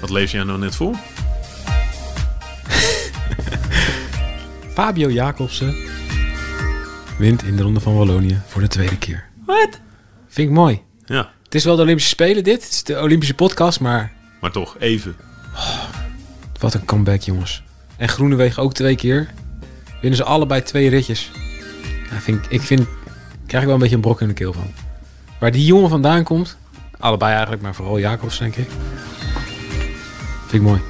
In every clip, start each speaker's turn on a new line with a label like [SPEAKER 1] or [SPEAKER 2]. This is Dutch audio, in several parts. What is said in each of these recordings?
[SPEAKER 1] Wat lees jij nou net voor?
[SPEAKER 2] Fabio Jacobsen wint in de Ronde van Wallonië voor de tweede keer.
[SPEAKER 1] Wat?
[SPEAKER 2] Vind ik mooi.
[SPEAKER 1] Ja,
[SPEAKER 2] Het is wel de Olympische Spelen dit. Het is de Olympische podcast, maar
[SPEAKER 1] maar toch, even.
[SPEAKER 2] wat een comeback jongens. En Groenewegen ook twee keer. Winnen ze allebei twee ritjes. Ja, vind ik, ik vind, krijg ik wel een beetje een brok in de keel van. Waar die jongen vandaan komt, allebei eigenlijk, maar vooral Jacobs denk ik. Vind ik mooi.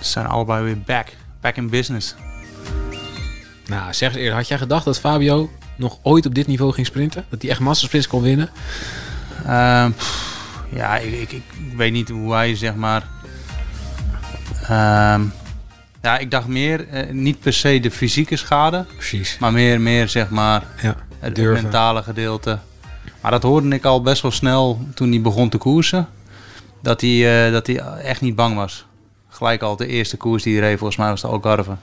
[SPEAKER 3] Ze zijn allebei weer back. Back in business.
[SPEAKER 2] Nou, zeg eens eerder, had jij gedacht dat Fabio nog ooit op dit niveau ging sprinten? Dat hij echt massasprints kon winnen?
[SPEAKER 3] Ehm, pff, ja, ik, ik, ik weet niet hoe hij, zeg maar... ehm, ja, ik dacht meer, eh, niet per se de fysieke schade,
[SPEAKER 2] Precies.
[SPEAKER 3] maar meer, meer zeg maar,
[SPEAKER 2] Ja,
[SPEAKER 3] het
[SPEAKER 2] Durven.
[SPEAKER 3] mentale gedeelte. Maar dat hoorde ik al best wel snel toen hij begon te koersen. Dat hij, eh, dat hij echt niet bang was. Gelijk al de eerste koers die hij reed, volgens mij was de Algarve.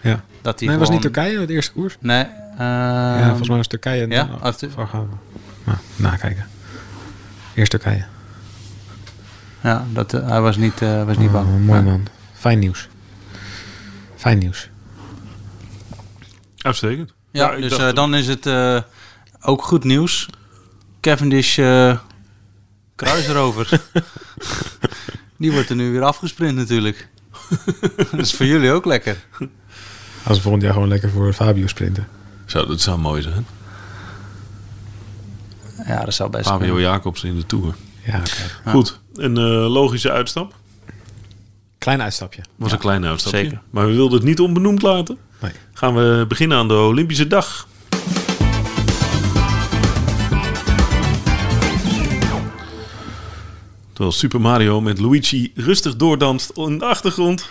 [SPEAKER 2] ja.
[SPEAKER 3] Dat hij
[SPEAKER 2] Nee, was niet
[SPEAKER 3] gewoon-
[SPEAKER 2] Turkije het eerste koers?
[SPEAKER 3] Nee.
[SPEAKER 2] ja,
[SPEAKER 3] ehm,
[SPEAKER 2] volgens mij was Turkije. En
[SPEAKER 3] ja?
[SPEAKER 2] dan- Oh,
[SPEAKER 3] Als de-
[SPEAKER 2] of Algarve. Nou, nakijken. Eerst Turkije.
[SPEAKER 3] ja, dat, eh, hij was niet, eh, was niet bang.
[SPEAKER 2] Oh, mooi
[SPEAKER 3] Ja.
[SPEAKER 2] man. Fijn nieuws. Fijn nieuws.
[SPEAKER 1] Uitstekend.
[SPEAKER 3] Ja,
[SPEAKER 1] ik
[SPEAKER 3] dus
[SPEAKER 1] dacht
[SPEAKER 3] eh,
[SPEAKER 1] ook-
[SPEAKER 3] dan is het eh, ook goed nieuws. Cavendish eh kruis erover. Die wordt er nu weer afgesprint natuurlijk. dat is voor jullie ook lekker.
[SPEAKER 2] Als we volgend jaar gewoon lekker voor Fabio sprinten.
[SPEAKER 1] Zou, dat zou mooi zijn.
[SPEAKER 3] Ja, dat zou best
[SPEAKER 1] Fabio
[SPEAKER 3] kunnen.
[SPEAKER 1] Jacobs in de Tour.
[SPEAKER 2] Ja, oké.
[SPEAKER 1] Goed, een eh, logische uitstap.
[SPEAKER 2] Klein uitstapje.
[SPEAKER 1] Was een klein uitstapje.
[SPEAKER 3] zeker.
[SPEAKER 1] Maar we wilden het niet onbenoemd laten.
[SPEAKER 2] Nee.
[SPEAKER 1] Gaan we beginnen aan de Olympische dag. Terwijl Super Mario met Luigi rustig doordanst in de achtergrond,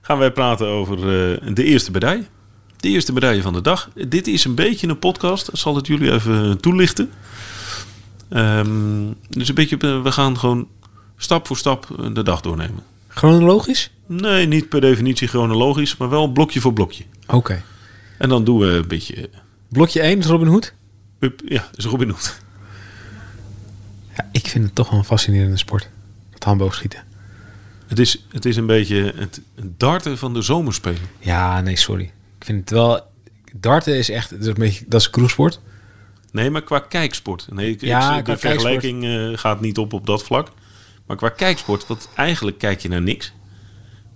[SPEAKER 1] gaan wij praten over eh, de eerste bedij. De eerste bedij van de dag. Dit is een beetje een podcast. Ik zal het jullie even toelichten. Ehm, dus een beetje, eh, we gaan gewoon stap voor stap eh, de dag doornemen.
[SPEAKER 2] Chronologisch?
[SPEAKER 1] Nee, niet per definitie chronologisch, maar wel blokje voor blokje.
[SPEAKER 2] Oké.
[SPEAKER 1] En dan doen we een beetje. eh,
[SPEAKER 2] Blokje 1 is Robin Hood.
[SPEAKER 1] up- ja, is Robin Hood.
[SPEAKER 2] Ja, ik vind het toch wel een fascinerende sport. Dat handboogschieten.
[SPEAKER 1] Het is, het is een beetje het darten van de zomerspelen.
[SPEAKER 2] Ja, nee, sorry. Ik vind het wel... Darten is echt... Dat is een, beetje, dat is een kroegsport.
[SPEAKER 1] Nee, maar qua kijksport. Nee, ik,
[SPEAKER 2] Ja,
[SPEAKER 1] ik-
[SPEAKER 2] qua
[SPEAKER 1] de vergelijking eh, gaat niet op op dat vlak. Maar qua kijksport, want eigenlijk kijk je naar niks.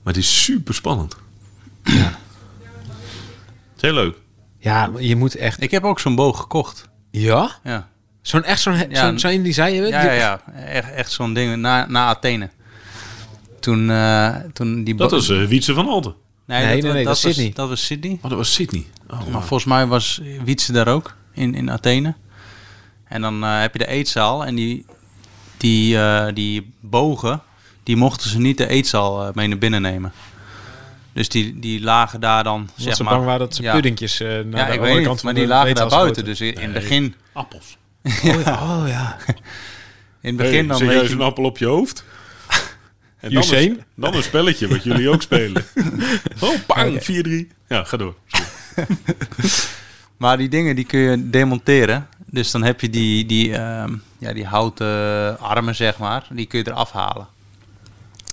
[SPEAKER 1] Maar het is super spannend. Het is heel leuk.
[SPEAKER 2] Ja, maar je moet echt...
[SPEAKER 3] Ik heb ook zo'n boog gekocht.
[SPEAKER 2] Ja?
[SPEAKER 3] Ja,
[SPEAKER 2] Zo'n echt zo'n...
[SPEAKER 3] Ja,
[SPEAKER 2] zo'n, zo'n die zei je...
[SPEAKER 3] ja, ja. ja. Echt, echt zo'n ding na, na Athene. Toen, eh, toen die... bo-
[SPEAKER 1] Dat was eh, Wietse van Alten.
[SPEAKER 3] Nee,
[SPEAKER 2] Nee, nee, nee, dat is
[SPEAKER 3] was,
[SPEAKER 2] Sydney.
[SPEAKER 3] Dat was Sydney.
[SPEAKER 1] Oh, dat was Sydney. Oh,
[SPEAKER 3] Maar
[SPEAKER 1] wauw.
[SPEAKER 3] volgens mij was Wietse daar ook, in, in Athene. En dan eh, heb je de eetzaal en die, die, eh, die bogen, die mochten ze niet de eetzaal eh, mee naar binnen nemen. Dus die, die lagen daar dan,
[SPEAKER 2] Omdat
[SPEAKER 3] zeg
[SPEAKER 2] ze
[SPEAKER 3] maar...
[SPEAKER 2] bang waren dat ze
[SPEAKER 3] ja.
[SPEAKER 2] puddingjes eh, naar
[SPEAKER 3] Ja,
[SPEAKER 2] de
[SPEAKER 3] ik
[SPEAKER 2] andere
[SPEAKER 3] weet niet,
[SPEAKER 2] kant van
[SPEAKER 3] maar
[SPEAKER 2] de
[SPEAKER 3] die lagen
[SPEAKER 2] eetzaal
[SPEAKER 3] daar buiten.
[SPEAKER 2] schoten.
[SPEAKER 3] Dus in, in het begin,
[SPEAKER 1] Appels.
[SPEAKER 2] Oh ja, oh, ja.
[SPEAKER 3] in het begin
[SPEAKER 1] hey,
[SPEAKER 3] dan weet
[SPEAKER 1] serieus
[SPEAKER 3] je...
[SPEAKER 1] een appel op je hoofd? En dan,
[SPEAKER 2] Usain?
[SPEAKER 1] een, dan een spelletje wat jullie ook spelen. Oh, bang, 4-3. Ja, ga door.
[SPEAKER 3] Maar die dingen die kun je demonteren. Dus dan heb je die, die, ehm, ja, die houten armen, zeg maar. Die kun je eraf halen.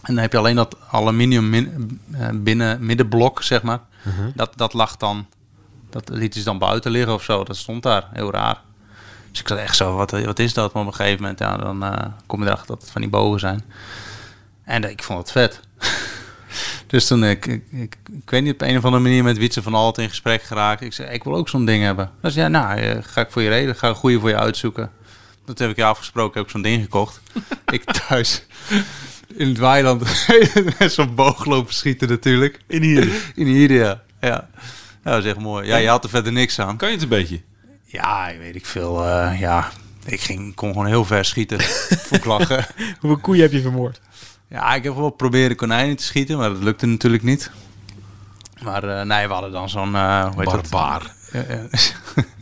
[SPEAKER 3] En dan heb je alleen dat aluminium min- eh, binnen middenblok, zeg maar. dat, dat lag dan... Dat liet ze dan buiten liggen of zo. Dat stond daar. Heel raar. Dus ik zat echt zo, wat, wat is dat? Maar op een gegeven moment ja, dan, eh, kom je erachter dat het van die bogen zijn. En eh, ik vond het vet. Dus toen, ik, ik, ik, ik weet niet, op een of andere manier met Wietse van Alt in gesprek geraakt. Ik zei, ik wil ook zo'n ding hebben. Dus ja, nou, eh, ga ik voor je reden, ga ik een goede voor je uitzoeken. Dat heb ik je afgesproken, heb ik zo'n ding gekocht. ik thuis in het weiland met zo'n boog lopen schieten natuurlijk.
[SPEAKER 1] In hier.
[SPEAKER 3] In hier, ja. Ja, ja dat is echt mooi. Ja, je had er verder niks aan.
[SPEAKER 1] Kan je het een beetje?
[SPEAKER 3] Ja, ik weet ik veel. eh, ja, Ik ging, kon gewoon heel ver schieten voor klachten.
[SPEAKER 2] Hoeveel koeien heb je vermoord?
[SPEAKER 3] Ja, ik heb wel proberen konijnen te schieten, maar dat lukte natuurlijk niet. Maar eh, nee, we hadden dan zo'n... eh hoe heet dat?
[SPEAKER 4] Barbaar.
[SPEAKER 3] Ja, ja.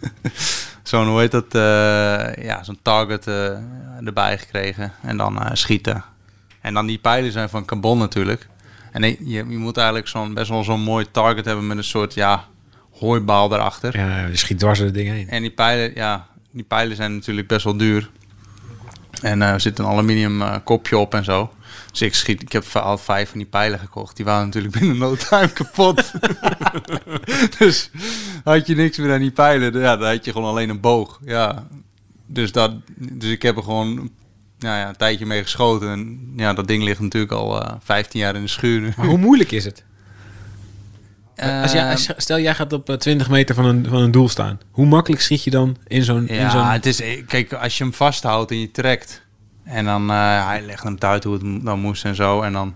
[SPEAKER 3] zo'n, hoe heet dat, eh, ja, zo'n target eh, erbij gekregen en dan eh, schieten. En dan die pijlen zijn van carbon natuurlijk. En je, je moet eigenlijk zo'n, best wel zo'n mooi target hebben met een soort, ja, hooibaal erachter.
[SPEAKER 2] Ja, je schiet dwars door de dingen heen.
[SPEAKER 3] En die pijlen, ja, die pijlen zijn natuurlijk best wel duur. En eh, er zit een aluminium eh, kopje op en zo. Dus ik schiet, ik heb al vijf van die pijlen gekocht. Die waren natuurlijk binnen no time kapot. dus had je niks meer aan die pijlen. Ja, dan had je gewoon alleen een boog. Ja, dus, dat, dus ik heb er gewoon nou ja, een tijdje mee geschoten. En ja, dat ding ligt natuurlijk al eh 15 jaar in de schuur. nu.
[SPEAKER 2] Maar hoe moeilijk is het? Als jij,
[SPEAKER 3] Eh,
[SPEAKER 2] als- stel, jij gaat op eh, 20 meter van een, van een doel staan. Hoe makkelijk schiet je dan in zo'n... in zo'n
[SPEAKER 3] Ja, het is, eh, kijk, als je hem vasthoudt en je trekt. En dan, eh, hij legde hem uit hoe het m- dan moest en zo. En dan,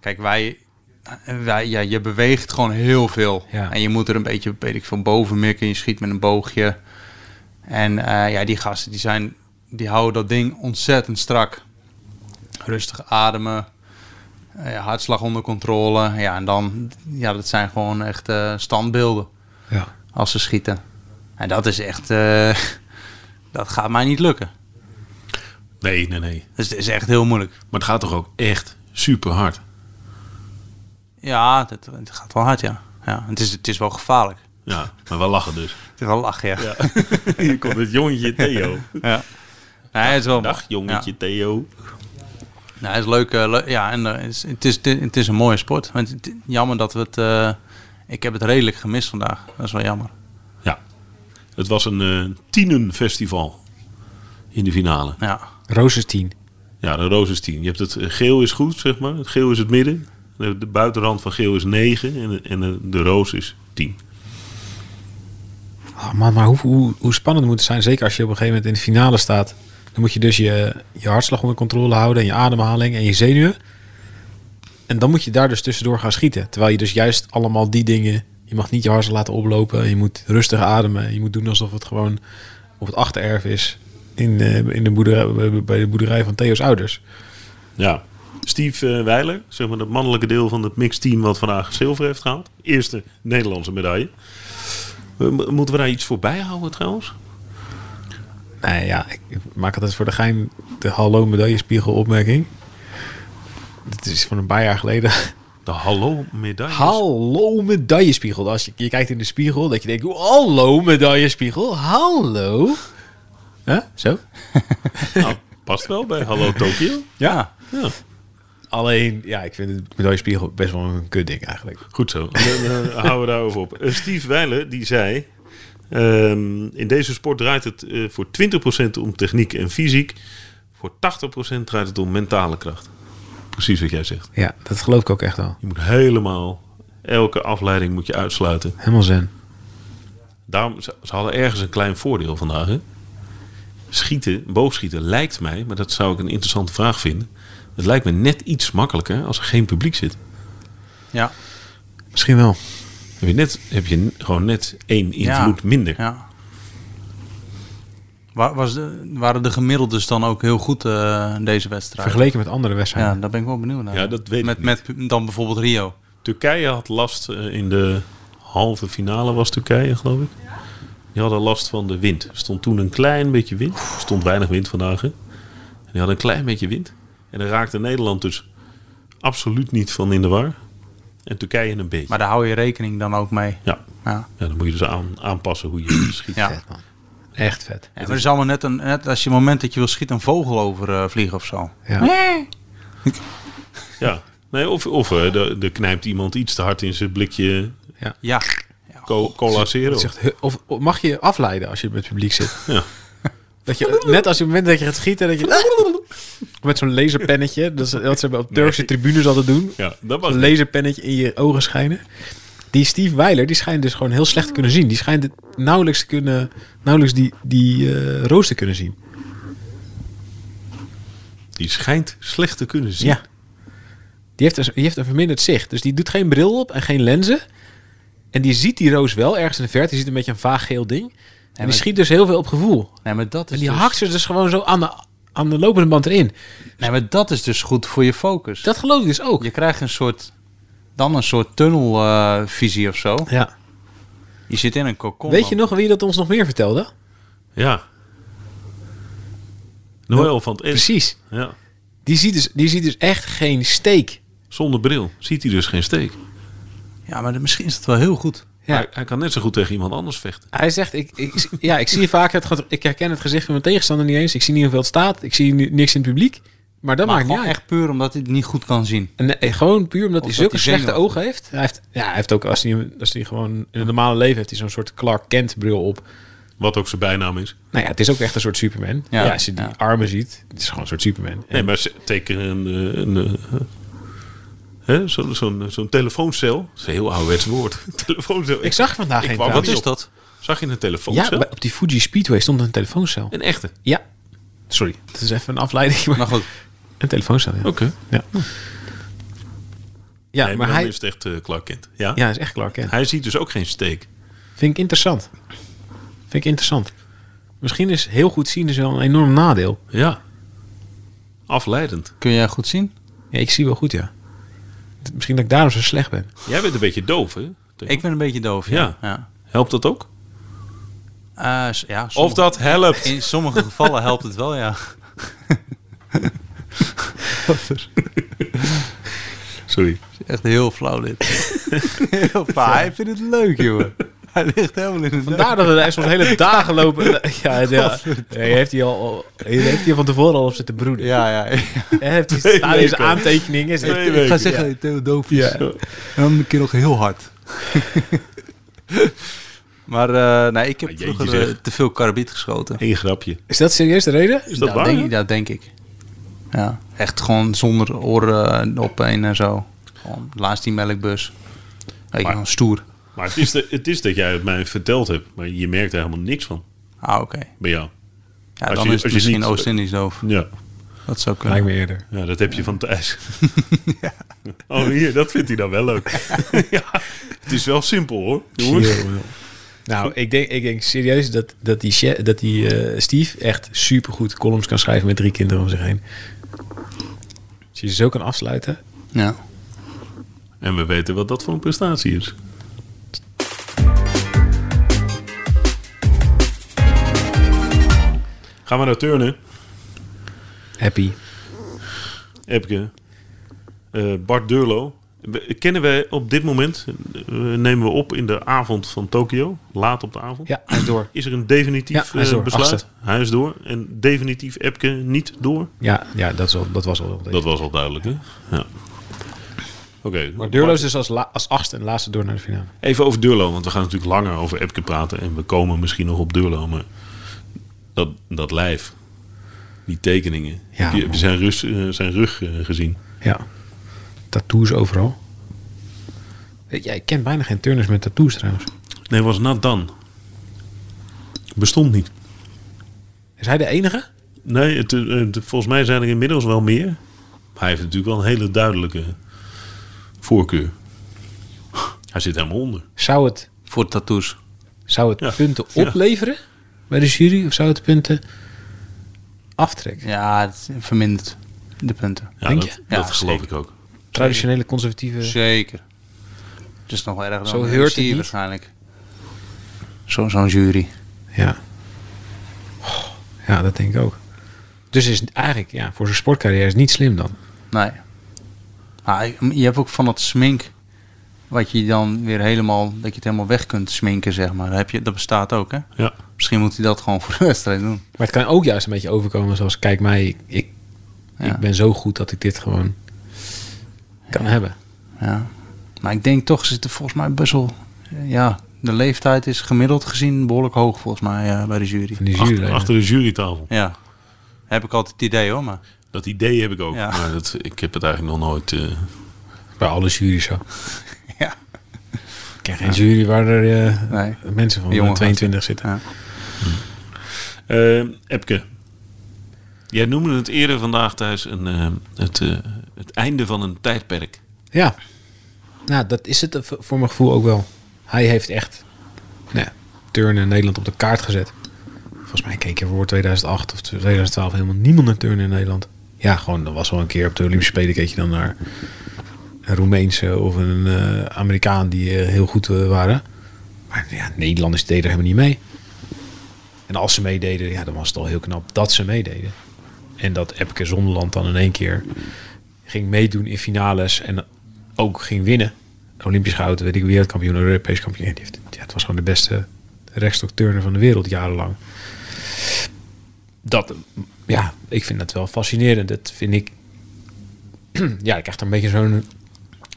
[SPEAKER 3] kijk, wij, wij ja, je beweegt gewoon heel veel.
[SPEAKER 2] Ja.
[SPEAKER 3] En je moet er een beetje, weet ik van boven mikken. Je schiet met een boogje. En eh, ja, die gasten, die zijn, die houden dat ding ontzettend strak. Rustig ademen. eh, hartslag onder controle. Ja, en dan, ja, dat zijn gewoon echt eh, standbeelden
[SPEAKER 2] ja.
[SPEAKER 3] als ze schieten. En dat is echt, eh, dat gaat mij niet lukken.
[SPEAKER 1] Nee, nee, nee.
[SPEAKER 3] Dus het is echt heel moeilijk.
[SPEAKER 1] Maar het gaat toch ook echt super hard.
[SPEAKER 3] Ja, dat, het gaat wel hard, ja. ja het, is, het is wel gevaarlijk.
[SPEAKER 1] Ja, maar wel lachen dus.
[SPEAKER 3] Het is wel lachen, ja. ja.
[SPEAKER 1] Hier komt het jongetje Theo.
[SPEAKER 3] Nee, het is wel
[SPEAKER 1] Dag jongetje
[SPEAKER 3] Ja.
[SPEAKER 1] Theo.
[SPEAKER 3] Nee, het is leuk. eh, le- ja, en eh, het, is, het, is, het is een mooie sport. Maar het- het- jammer dat we het... eh, ik heb het redelijk gemist vandaag. Dat is wel jammer.
[SPEAKER 1] Ja. Het was een eh, tienenfestival in de finale.
[SPEAKER 3] Ja.
[SPEAKER 2] Roos is 10.
[SPEAKER 1] Ja, de roos is 10. Je hebt het eh, geel is goed, zeg maar. Het geel is het midden. De, de buitenrand van geel is 9 en, en de, de roos is 10.
[SPEAKER 2] Oh man, maar hoe, hoe, hoe spannend moet het zijn? Zeker als je op een gegeven moment in de finale staat. Dan moet je dus je, je hartslag onder controle houden. En je ademhaling en je zenuwen. En dan moet je daar dus tussendoor gaan schieten. Terwijl je dus juist allemaal die dingen... Je mag niet je hartslag laten oplopen. Je moet rustig ademen. Je moet doen alsof het gewoon op het achtererf is. In, eh, in de boerderij, bij de boerderij van Theo's ouders.
[SPEAKER 1] Ja. Steve eh, Weiler, zeg maar het mannelijke deel van het mixteam wat vandaag zilver heeft gehaald. Eerste Nederlandse medaille. Eh, mo- Moeten we daar iets voor bijhouden trouwens?
[SPEAKER 2] Nee, ja, ik ik maak altijd voor de gein de hallo medaillespiegel opmerking. Dit is van een paar jaar geleden.
[SPEAKER 1] De hallo medaille.
[SPEAKER 2] Hallo medaillespiegel. Als je, je kijkt in de spiegel, dat je denkt, hallo medaillespiegel, hallo. Hè? Zo?
[SPEAKER 1] Nou, past wel bij Hallo Tokio.
[SPEAKER 3] Ja.
[SPEAKER 1] Ja,
[SPEAKER 2] Alleen, ja, ik vind het medaillespiegel best wel een kut ding eigenlijk.
[SPEAKER 1] goed zo. Dan eh, houden we daarover op. Eh, Steve Weiler die zei... ehm, in deze sport draait het eh, voor 20% om techniek en fysiek. Voor 80% draait het om mentale kracht. Precies wat jij zegt.
[SPEAKER 2] Ja, dat geloof ik ook echt al.
[SPEAKER 1] Je moet helemaal... Elke afleiding moet je uitsluiten.
[SPEAKER 2] Helemaal zen.
[SPEAKER 1] Daarom, ze, ze hadden ergens een klein voordeel vandaag. Hè? Schieten, boogschieten lijkt mij... maar dat zou ik een interessante vraag vinden... het lijkt me net iets makkelijker als er geen publiek zit.
[SPEAKER 3] Ja.
[SPEAKER 2] Misschien wel.
[SPEAKER 1] Heb je, net, heb je n- gewoon net één invloed
[SPEAKER 3] Ja.
[SPEAKER 1] minder.
[SPEAKER 3] ja. Wa- Was de, waren de gemiddeldes dan ook heel goed eh, deze wedstrijd?
[SPEAKER 2] Vergeleken met andere wedstrijden.
[SPEAKER 3] Ja, daar ben ik wel benieuwd naar.
[SPEAKER 1] Ja, dat weet ik
[SPEAKER 3] met, met dan bijvoorbeeld Rio.
[SPEAKER 1] Turkije had last eh, in de halve finale was Turkije, geloof ik. Die hadden last van de wind. Er stond toen een klein beetje wind. Er stond weinig wind vandaag. Hè? En die hadden een klein beetje wind. En daar raakte Nederland dus absoluut niet van in de war. En Turkije een beetje.
[SPEAKER 3] Maar daar hou je rekening dan ook mee.
[SPEAKER 1] ja.
[SPEAKER 3] Ja.
[SPEAKER 1] ja, dan moet je dus aan, aanpassen hoe je schiet.
[SPEAKER 3] Ja.
[SPEAKER 2] Vet, man. Echt vet.
[SPEAKER 3] maar er is allemaal net, een, net als je het moment dat je wil schieten een vogel over eh, vliegen of zo.
[SPEAKER 2] Ja.
[SPEAKER 1] Ja. Nee, of of eh, er er knijpt iemand iets te hard in zijn blikje
[SPEAKER 3] Ja.
[SPEAKER 1] co- cola zero.
[SPEAKER 2] Het zegt, he- of, of mag je afleiden als je met het publiek zit?
[SPEAKER 1] Ja.
[SPEAKER 2] Dat je, net als op het moment dat je gaat schieten, dat je... Ah! Met zo'n laserpennetje, dat is wat ze op Turkse tribunes altijd doen.
[SPEAKER 1] Ja, dat was
[SPEAKER 2] Een laserpennetje in je ogen schijnen. Die Steve Weiler, die schijnt dus gewoon heel slecht te kunnen zien. Die schijnt het nauwelijks, te kunnen, nauwelijks die, die eh, roos te kunnen zien.
[SPEAKER 1] Die schijnt slecht te kunnen zien.
[SPEAKER 2] Ja. Die heeft, een, die heeft een verminderd zicht. Dus die doet geen bril op en geen lenzen. En die ziet die roos wel ergens in de verte. Die ziet een beetje een vaag geel ding. En
[SPEAKER 3] maar-
[SPEAKER 2] die schiet dus heel veel op gevoel.
[SPEAKER 3] Nee, maar dat
[SPEAKER 2] En
[SPEAKER 3] is
[SPEAKER 2] die
[SPEAKER 3] dus,
[SPEAKER 2] hakt ze dus gewoon zo aan de, aan de lopende band erin.
[SPEAKER 3] nee, maar dat is dus goed voor je focus.
[SPEAKER 2] Dat geloof ik dus ook.
[SPEAKER 3] Je krijgt een soort, dan een soort tunnelvisie of zo.
[SPEAKER 2] Ja.
[SPEAKER 3] Je zit in een cocon.
[SPEAKER 2] Weet je nog wie dat ons nog meer vertelde?
[SPEAKER 1] Ja. Noël van het Ed.
[SPEAKER 2] Precies.
[SPEAKER 1] Ja.
[SPEAKER 2] Die ziet, dus, die ziet dus echt geen steek.
[SPEAKER 1] Zonder bril ziet hij dus geen steek.
[SPEAKER 3] Ja, maar misschien is het wel heel goed.
[SPEAKER 2] Ja.
[SPEAKER 1] Hij, hij kan net zo goed tegen iemand anders vechten.
[SPEAKER 2] Hij zegt, ik, ik, ja, ik zie vaak, het, ge- ik herken het gezicht van mijn tegenstander niet eens. Ik zie niet hoeveel het staat. Ik zie ni- niks in het publiek. Maar dat
[SPEAKER 3] maar
[SPEAKER 2] maakt niet
[SPEAKER 3] gewoon
[SPEAKER 2] uit.
[SPEAKER 3] echt puur omdat hij het niet goed kan zien.
[SPEAKER 2] En, nee, gewoon puur omdat
[SPEAKER 3] Of
[SPEAKER 2] hij
[SPEAKER 3] dat
[SPEAKER 2] zulke
[SPEAKER 3] hij
[SPEAKER 2] slechte
[SPEAKER 3] zenuwachtig
[SPEAKER 2] ogen heeft. Hij heeft, ja, hij heeft ook, als hij, als hij gewoon in het normale leven heeft, hij zo'n soort Clark Kent bril op.
[SPEAKER 1] Wat ook zijn bijnaam is.
[SPEAKER 2] Nou ja, het is ook echt een soort Superman. Ja,
[SPEAKER 3] Ja,
[SPEAKER 2] als je die
[SPEAKER 3] ja.
[SPEAKER 2] armen ziet, het is gewoon een soort Superman.
[SPEAKER 1] Nee, maar ze- teken een... eh, een, eh, hè, zo- Zo'n zo'n telefooncel. Dat is een heel ouderwets woord. telefooncel.
[SPEAKER 2] ik zag er vandaag
[SPEAKER 1] Ik
[SPEAKER 2] geen
[SPEAKER 1] wou-
[SPEAKER 2] trouwens.
[SPEAKER 1] Wat is
[SPEAKER 3] dat?
[SPEAKER 1] Zag je een
[SPEAKER 2] Ja,
[SPEAKER 1] telefooncel?
[SPEAKER 2] bij- op die Fuji Speedway stond een telefooncel.
[SPEAKER 1] Een echte.
[SPEAKER 2] Ja. Sorry, het is even een afleiding. Maar
[SPEAKER 3] Maar goed,
[SPEAKER 2] Een telefooncel, ja.
[SPEAKER 1] Oké.
[SPEAKER 2] Ja, ja
[SPEAKER 1] nee,
[SPEAKER 2] maar
[SPEAKER 1] dan
[SPEAKER 2] hij
[SPEAKER 1] is het echt eh, Clark Kent. Ja?
[SPEAKER 2] ja, is echt Clark Kent.
[SPEAKER 1] Hij ziet dus ook geen steek.
[SPEAKER 2] Vind ik interessant. Vind ik interessant. Misschien is heel goed zien dus wel een enorm nadeel.
[SPEAKER 1] Ja. Afleidend.
[SPEAKER 3] kun jij goed zien?
[SPEAKER 2] Ja, ik zie wel goed, ja. Misschien dat ik daarom zo slecht ben.
[SPEAKER 1] Jij bent een beetje doof, hè?
[SPEAKER 3] Ik ben een beetje doof,
[SPEAKER 1] Ja.
[SPEAKER 3] ja. Ja,
[SPEAKER 1] Helpt dat ook?
[SPEAKER 3] Eh, s- ja sommige-
[SPEAKER 1] Of dat helpt.
[SPEAKER 3] In sommige gevallen helpt het wel, ja.
[SPEAKER 1] Sorry.
[SPEAKER 3] Echt heel flauw dit. Heel flauw. Hij vindt het leuk, joh. Hij ligt helemaal in het
[SPEAKER 2] Vandaar dat we daar soms hele dagen lopen. Ja, ja. Nee, heeft hij al, al- heeft hij van tevoren al op zitten broeden.
[SPEAKER 3] Ja, ja.
[SPEAKER 2] Hij heeft hij
[SPEAKER 1] Twee
[SPEAKER 2] staan in zijn
[SPEAKER 1] weken.
[SPEAKER 2] aantekeningen. Is
[SPEAKER 1] Twee
[SPEAKER 2] het-
[SPEAKER 1] weken.
[SPEAKER 3] Ik ga zeggen, Theo doof is. En dan een keer nog heel hard. Maar eh, nee, ik heb
[SPEAKER 1] Maar jeetje
[SPEAKER 3] vroeger eh,
[SPEAKER 1] zeg.
[SPEAKER 3] te veel karabiet geschoten.
[SPEAKER 1] Eén grapje.
[SPEAKER 2] Is dat serieus de reden? Nou,
[SPEAKER 1] Is dat
[SPEAKER 3] Ja,
[SPEAKER 1] waar?
[SPEAKER 3] Nou, denk-
[SPEAKER 1] hè?
[SPEAKER 3] dat denk ik. Ja, echt gewoon zonder oren eh, op een en zo. Gewoon laatst die melkbus. Weet je,
[SPEAKER 1] Maar-
[SPEAKER 3] gewoon stoer.
[SPEAKER 1] Maar het is, de, het is dat jij het mij verteld hebt. Maar je merkt er helemaal niks van.
[SPEAKER 3] Ah, oké.
[SPEAKER 1] Bij jou.
[SPEAKER 3] Ja,
[SPEAKER 1] Als
[SPEAKER 3] dan
[SPEAKER 1] je-
[SPEAKER 3] is
[SPEAKER 1] als
[SPEAKER 3] het
[SPEAKER 1] je
[SPEAKER 3] misschien
[SPEAKER 1] niet-
[SPEAKER 3] Oost-Indisch doof.
[SPEAKER 1] Ja.
[SPEAKER 3] Dat zou kunnen.
[SPEAKER 2] Lijkt me eerder.
[SPEAKER 1] ja, dat heb je van Thijs. Oh, hier. Dat vindt hij dan wel leuk. ja. Het is wel simpel, hoor. Jongens.
[SPEAKER 2] Nou, ik denk, ik denk serieus dat, dat die, che- dat die eh, Steve echt supergoed columns kan schrijven met drie kinderen om zich heen. Als je ze zo kan afsluiten.
[SPEAKER 3] Ja.
[SPEAKER 1] En we weten wat dat voor een prestatie is. Gaan we naar turnen.
[SPEAKER 2] Happy.
[SPEAKER 1] Epke. Eh, Bart Durlo. We- Kennen wij op dit moment, eh, nemen we op in de avond van Tokio, laat op de avond.
[SPEAKER 2] Ja, hij is door.
[SPEAKER 1] Is er een definitief
[SPEAKER 2] Ja, hij is
[SPEAKER 1] eh,
[SPEAKER 2] door.
[SPEAKER 1] besluit?
[SPEAKER 2] Achtste.
[SPEAKER 1] Hij is door. En definitief Epke niet door?
[SPEAKER 2] Ja, ja dat, is al, dat was al wel.
[SPEAKER 1] Dat was al duidelijk, hè? Ja. Oké.
[SPEAKER 2] Maar Deurloos dus als, la- als achtste en laatste door naar de finale.
[SPEAKER 1] Even over Durlo, want we gaan natuurlijk langer over Epke praten. En we komen misschien nog op Durlo, maar dat, dat lijf, die tekeningen.
[SPEAKER 2] Ja,
[SPEAKER 1] heb je heb
[SPEAKER 2] man.
[SPEAKER 1] je zijn, rus, eh, zijn rug eh, gezien?
[SPEAKER 2] Ja. Tattoos overal. Weet je, ik ken bijna geen turners met tattoos trouwens.
[SPEAKER 1] Nee, was nat dan. Bestond niet.
[SPEAKER 2] Is hij de enige?
[SPEAKER 1] Nee, het, eh, het- volgens mij zijn er inmiddels wel meer. Maar hij heeft natuurlijk wel een hele duidelijke voorkeur. Hij zit helemaal onder.
[SPEAKER 2] Zou het,
[SPEAKER 3] Voor tattoos.
[SPEAKER 2] zou het
[SPEAKER 1] Ja.
[SPEAKER 2] punten
[SPEAKER 1] Ja.
[SPEAKER 2] opleveren bij de jury? Of zou het punten aftrekken?
[SPEAKER 3] Ja, het vermindert de punten.
[SPEAKER 1] Ja,
[SPEAKER 2] Denk
[SPEAKER 1] dat,
[SPEAKER 2] je?
[SPEAKER 3] Ja,
[SPEAKER 1] dat geloof
[SPEAKER 3] zeker.
[SPEAKER 1] ik ook.
[SPEAKER 2] Traditionele conservatieve...
[SPEAKER 3] Zeker. Het is nog wel erger dan
[SPEAKER 2] Zo
[SPEAKER 3] een
[SPEAKER 2] heurt het
[SPEAKER 3] jury
[SPEAKER 2] niet.
[SPEAKER 3] waarschijnlijk. Zo- Zo'n jury.
[SPEAKER 2] Ja. Oh, Ja, dat denk ik ook. Dus is het eigenlijk ja, voor zijn sportcarrière is het niet slim dan.
[SPEAKER 3] Nee. Maar je hebt ook van dat smink... Wat je dan weer helemaal... Dat je het helemaal weg kunt sminken, zeg maar. Dat, heb je, dat bestaat ook, hè?
[SPEAKER 1] Ja.
[SPEAKER 3] Misschien moet hij dat gewoon voor de wedstrijd doen.
[SPEAKER 2] Maar het kan ook juist een beetje overkomen zoals... Kijk mij, ik, ik,
[SPEAKER 3] Ja.
[SPEAKER 2] ik ben zo goed dat ik dit gewoon kan hebben.
[SPEAKER 3] Ja. Maar ik denk toch zit er volgens mij best wel... Ja, de leeftijd is gemiddeld gezien behoorlijk hoog volgens mij eh, bij de jury.
[SPEAKER 2] Van die
[SPEAKER 1] Achter,
[SPEAKER 2] jury.
[SPEAKER 1] achter de jurytafel.
[SPEAKER 3] Ja. Heb ik altijd het idee, hoor. Maar
[SPEAKER 1] Dat idee heb ik ook.
[SPEAKER 3] Ja.
[SPEAKER 1] Maar dat, ik heb het eigenlijk nog nooit... eh,
[SPEAKER 2] Bij alle jury's zo.
[SPEAKER 3] Ja.
[SPEAKER 2] Ik ken geen jury waar er eh,
[SPEAKER 3] nee.
[SPEAKER 2] mensen van
[SPEAKER 3] Jonge
[SPEAKER 2] 22 zitten.
[SPEAKER 3] Ja.
[SPEAKER 1] Eh, Epke. Jij noemde het eerder vandaag thuis een, eh, het, eh, het einde van een tijdperk.
[SPEAKER 2] Ja. Nou, dat is het v- voor mijn gevoel ook wel. Hij heeft echt... Nou, ja, turnen in Nederland op de kaart gezet. Volgens mij keek er voor 2008 of 2012 helemaal niemand naar turnen in Nederland. Ja, gewoon, dat was wel een keer op de Olympische Spelen keek je dan naar een Roemeense of een eh, Amerikaan die eh, heel goed eh, waren. Maar ja, Nederlanders deden er helemaal niet mee. En als ze meededen, ja, dan was het al heel knap dat ze meededen. En dat Epke Zonderland dan in één keer ging meedoen in finales en ook ging winnen. Olympisch goud, weet ik wereldkampioen, Europees kampioen. Ja, die heeft- ja, het was gewoon de beste rechtstokturner van de wereld jarenlang. Dat, ja, ik vind dat wel fascinerend. Dat vind ik, ja, ik krijg er een beetje zo'n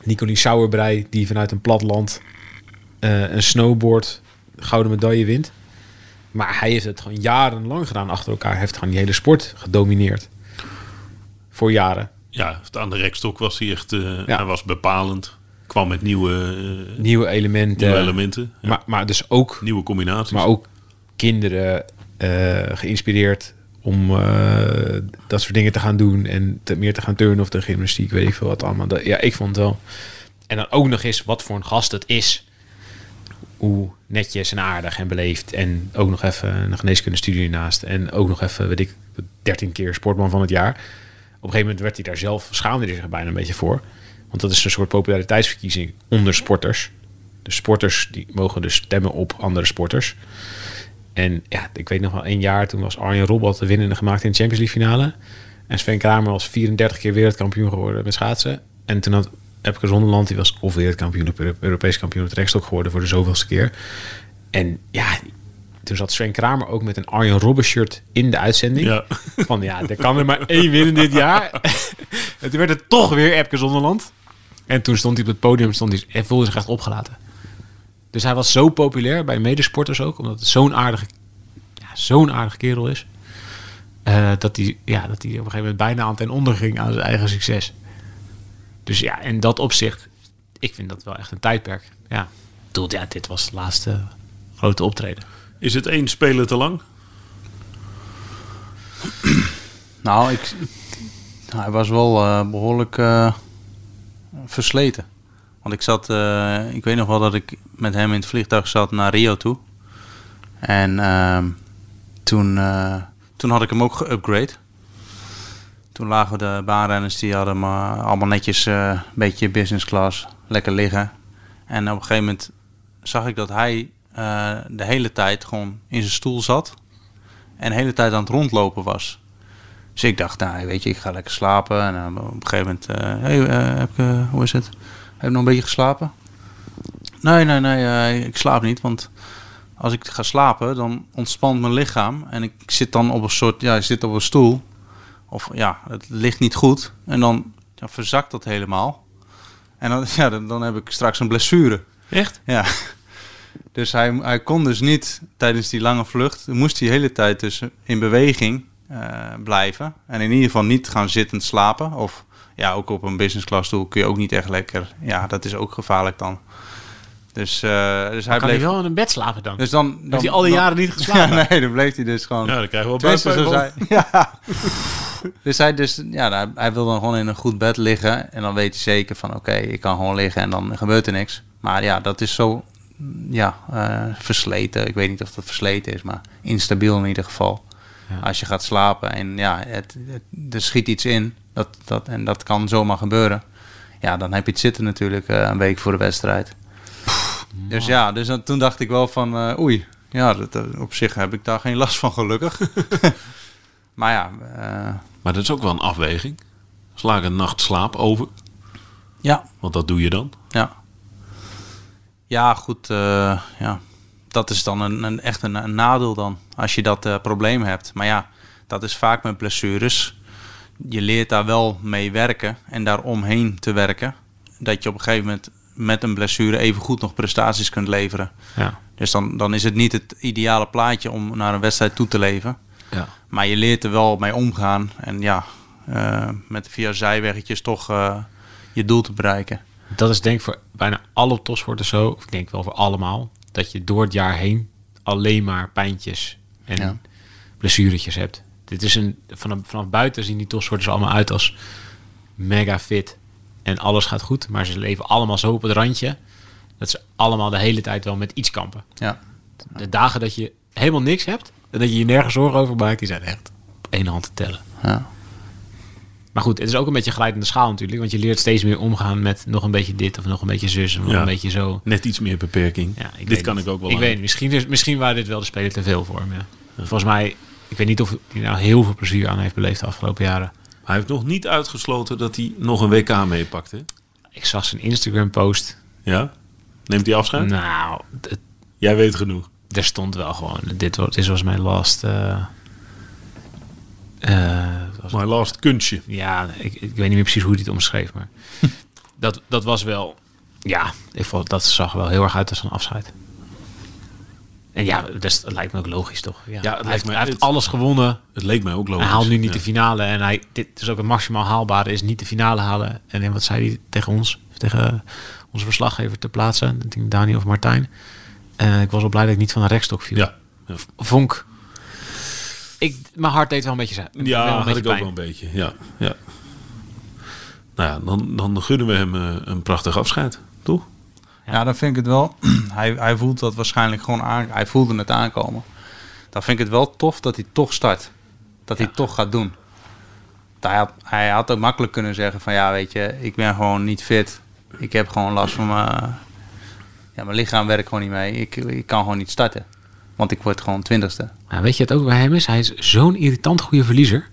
[SPEAKER 2] Nicolie Sauerbrei die vanuit een platland eh, een snowboard gouden medaille wint. Maar hij heeft het gewoon jarenlang gedaan achter elkaar. Hij heeft gewoon die hele sport gedomineerd. Voor jaren.
[SPEAKER 1] Ja, aan de rekstok was hij echt... eh,
[SPEAKER 2] Ja.
[SPEAKER 1] Hij was bepalend. Kwam met nieuwe, eh,
[SPEAKER 2] Nieuwe elementen.
[SPEAKER 1] nieuwe elementen. Ja,
[SPEAKER 2] Maar, maar dus ook
[SPEAKER 1] nieuwe combinaties.
[SPEAKER 2] Maar ook kinderen eh, geïnspireerd om eh, dat soort dingen te gaan doen. En te, meer te gaan turnen of de gymnastiek, weet ik veel wat allemaal. Dat, ja, ik vond het wel. En dan ook nog eens wat voor een gast het is. Hoe netjes en aardig en beleefd. En ook nog even een geneeskundestudie naast. En ook nog even, weet ik, 13 keer sportman van het jaar. Op een gegeven moment werd hij daar zelf, schaamde hij zich er bijna een beetje voor. Want dat is een soort populariteitsverkiezing onder sporters. De sporters die mogen dus stemmen op andere sporters. En ja, ik weet nog wel één jaar, toen was Arjen Robot de winnende gemaakt in de Champions League finale. En Sven Kramer was 34 keer wereldkampioen geworden met schaatsen. En toen had Epke Zonderland, die was of wereldkampioen of Euro- Europees kampioen op de rekstok geworden voor de zoveelste keer. En ja, toen zat Sven Kramer ook met een Arjen Robben shirt in de uitzending.
[SPEAKER 1] Ja.
[SPEAKER 2] Van ja, er kan er maar één winnen dit jaar. en toen werd het toch weer Epke Zonderland. En toen stond hij op het podium stond hij, en voelde zich echt opgelaten. Dus hij was zo populair bij medesporters ook, omdat het zo'n aardige, ja, zo'n aardige kerel is. eh, dat, hij, ja, dat hij op een gegeven moment bijna aan ten onder ging aan zijn eigen succes. Dus ja, in dat opzicht, ik vind dat wel echt een tijdperk. Ja, Ik bedoel, ja dit was het laatste grote optreden.
[SPEAKER 1] Is het één speler te lang?
[SPEAKER 3] Nou, ik, nou, hij was wel eh, behoorlijk eh, versleten. Want ik zat, eh, ik weet nog wel dat ik met hem in het vliegtuig zat naar Rio toe. En ehm, toen, eh, toen had ik hem ook geüpgrade. Toen lagen de baanrenners, die hadden hem eh, allemaal netjes eh, een beetje business class, lekker liggen. En op een gegeven moment zag ik dat hij eh, de hele tijd gewoon in zijn stoel zat. En de hele tijd aan het rondlopen was. Dus ik dacht, nou, weet je, ik ga lekker slapen. En dan op een gegeven moment, eh, hey, eh, heb ik, eh, hoe is het? Heb je nog een beetje geslapen? Nee, nee, nee, eh, ik slaap niet. Want als ik ga slapen, dan ontspant mijn lichaam. En ik zit dan op een soort, ja, ik zit op een stoel. Of ja, het ligt niet goed. En dan ja, verzakt dat helemaal. En dan, ja, dan, dan heb ik straks een blessure.
[SPEAKER 1] Echt?
[SPEAKER 3] Ja. Dus hij, hij kon dus niet tijdens die lange vlucht, moest hij de hele tijd dus in beweging eh, blijven. En in ieder geval niet gaan zittend slapen. Of ja, ook op een business class stoel kun je ook niet echt lekker. Ja, dat is ook gevaarlijk dan. Dus, eh, dus hij
[SPEAKER 2] Kan
[SPEAKER 3] bleef.
[SPEAKER 2] hij wel in een bed slapen dan?
[SPEAKER 3] dus dan, dan
[SPEAKER 2] Heeft hij al die
[SPEAKER 3] dan-
[SPEAKER 2] jaren niet geslapen?
[SPEAKER 3] Ja, nee, dan bleef hij dus gewoon.
[SPEAKER 1] Ja, dan krijgen we wel
[SPEAKER 3] Tenminste, zo
[SPEAKER 1] buikpijn van.
[SPEAKER 3] zei, ja. Dus hij, dus, ja, hij, hij wil dan gewoon in een goed bed liggen. En dan weet hij zeker van, oké, ik kan gewoon liggen en dan gebeurt er niks. Maar ja, dat is zo, ja, eh, versleten. Ik weet niet of dat versleten is, maar instabiel in ieder geval. Als je gaat slapen en ja, het, het- er schiet iets in. Dat, dat, en dat kan zomaar gebeuren. Ja, dan heb je het zitten natuurlijk eh, een week voor de wedstrijd. Dus ja, dus dan- toen dacht ik wel van, eh, oei. Ja, dat, dat- op zich heb ik daar geen last van, gelukkig. maar ja, eh,
[SPEAKER 1] Maar dat is ook wel een afweging. Sla ik een nacht slaap over?
[SPEAKER 3] ja,
[SPEAKER 1] Want dat doe je dan.
[SPEAKER 3] ja. Ja, goed, eh, ja. Dat is dan een, een, echt een, een nadeel dan, als je dat eh, probleem hebt. Maar ja, dat is vaak met blessures. Je leert daar wel mee werken en daar omheen te werken. Dat je op een gegeven moment met een blessure even goed nog prestaties kunt leveren.
[SPEAKER 2] Ja.
[SPEAKER 3] Dus dan, dan is het niet het ideale plaatje om naar een wedstrijd toe te leven.
[SPEAKER 2] Ja.
[SPEAKER 3] Maar je leert er wel mee omgaan. En ja, eh, met via zijweggetjes toch eh, je doel te bereiken.
[SPEAKER 2] Dat is denk ik voor bijna alle topsporters zo, of ik denk wel voor allemaal, dat je door het jaar heen alleen maar pijntjes en
[SPEAKER 3] Ja.
[SPEAKER 2] blessuretjes hebt. Dit is een, vanaf, vanaf buiten zien die topsporters allemaal uit als mega fit en alles gaat goed, maar ze leven allemaal zo op het randje dat ze allemaal de hele tijd wel met iets kampen.
[SPEAKER 3] Ja,
[SPEAKER 2] de dagen dat je helemaal niks hebt en dat je je nergens zorgen over maakt, die zijn echt op één hand te tellen.
[SPEAKER 3] Ja.
[SPEAKER 2] Maar goed, het is ook een beetje glijdende schaal natuurlijk, want je leert steeds meer omgaan met nog een beetje dit of nog een beetje zus en nog
[SPEAKER 1] Ja.
[SPEAKER 2] een beetje zo.
[SPEAKER 1] Net iets meer beperking.
[SPEAKER 2] Ja, ik
[SPEAKER 1] Dit
[SPEAKER 2] weet
[SPEAKER 1] kan
[SPEAKER 2] niet.
[SPEAKER 1] ik ook wel
[SPEAKER 2] Ik
[SPEAKER 1] aan.
[SPEAKER 2] weet, niet, misschien, is- misschien waren dit wel de spelen te veel voor hem. Ja. Volgens mij, ik weet niet of hij nou heel veel plezier aan heeft beleefd de afgelopen jaren.
[SPEAKER 1] Hij heeft nog niet uitgesloten dat hij nog een WK meepakt. Hè?
[SPEAKER 2] Ik zag zijn Instagram-post.
[SPEAKER 1] Ja? Neemt hij afscheid?
[SPEAKER 2] Nou, het,
[SPEAKER 1] Jij weet genoeg.
[SPEAKER 2] er stond wel gewoon, dit, wa- dit was mijn last. eh, eh, was-
[SPEAKER 1] My last kunstje.
[SPEAKER 2] ja, ik, ik weet niet meer precies hoe hij het omschreef, maar dat, dat was wel, ja, ik vond dat zag er wel heel erg uit als een afscheid. En ja, dat is- dat lijkt me ook logisch, toch? Ja,
[SPEAKER 1] lijkt
[SPEAKER 2] hij heeft,
[SPEAKER 1] me-
[SPEAKER 2] hij heeft
[SPEAKER 1] het-
[SPEAKER 2] alles gewonnen.
[SPEAKER 1] Het leek mij ook logisch.
[SPEAKER 2] Hij haalt nu niet
[SPEAKER 1] Ja.
[SPEAKER 2] de finale en hij, dit is ook het maximaal haalbare, is niet de finale halen. En in wat zei hij tegen ons, of tegen onze verslaggever te plaatsen, ik denk Dani of Martijn. Eh, ik was al blij dat ik niet van een rekstok viel.
[SPEAKER 1] Ja. Ja,
[SPEAKER 2] Vonk. Ik, mijn hart deed wel een beetje zijn.
[SPEAKER 1] ja
[SPEAKER 2] wel een
[SPEAKER 1] had
[SPEAKER 2] beetje
[SPEAKER 1] ik ook
[SPEAKER 2] pijn.
[SPEAKER 1] wel een beetje. Ja. ja. Nou ja, dan, dan gunnen we hem eh, een prachtig afscheid. Toch?
[SPEAKER 3] Ja, dan vind ik het wel. hij, hij voelt dat waarschijnlijk gewoon aan. Hij voelde het aankomen. Dan vind ik het wel tof dat hij toch start. Dat hij toch gaat doen. Hij had, hij had ook makkelijk kunnen zeggen van ja, weet je, ik ben gewoon niet fit. Ik heb gewoon last van mijn. Ja, mijn lichaam werkt gewoon niet mee. Ik, ik kan gewoon niet starten. Want ik word gewoon twintigste.
[SPEAKER 2] Maar Nou, weet je het ook bij hem is? Hij is zo'n irritant goede verliezer.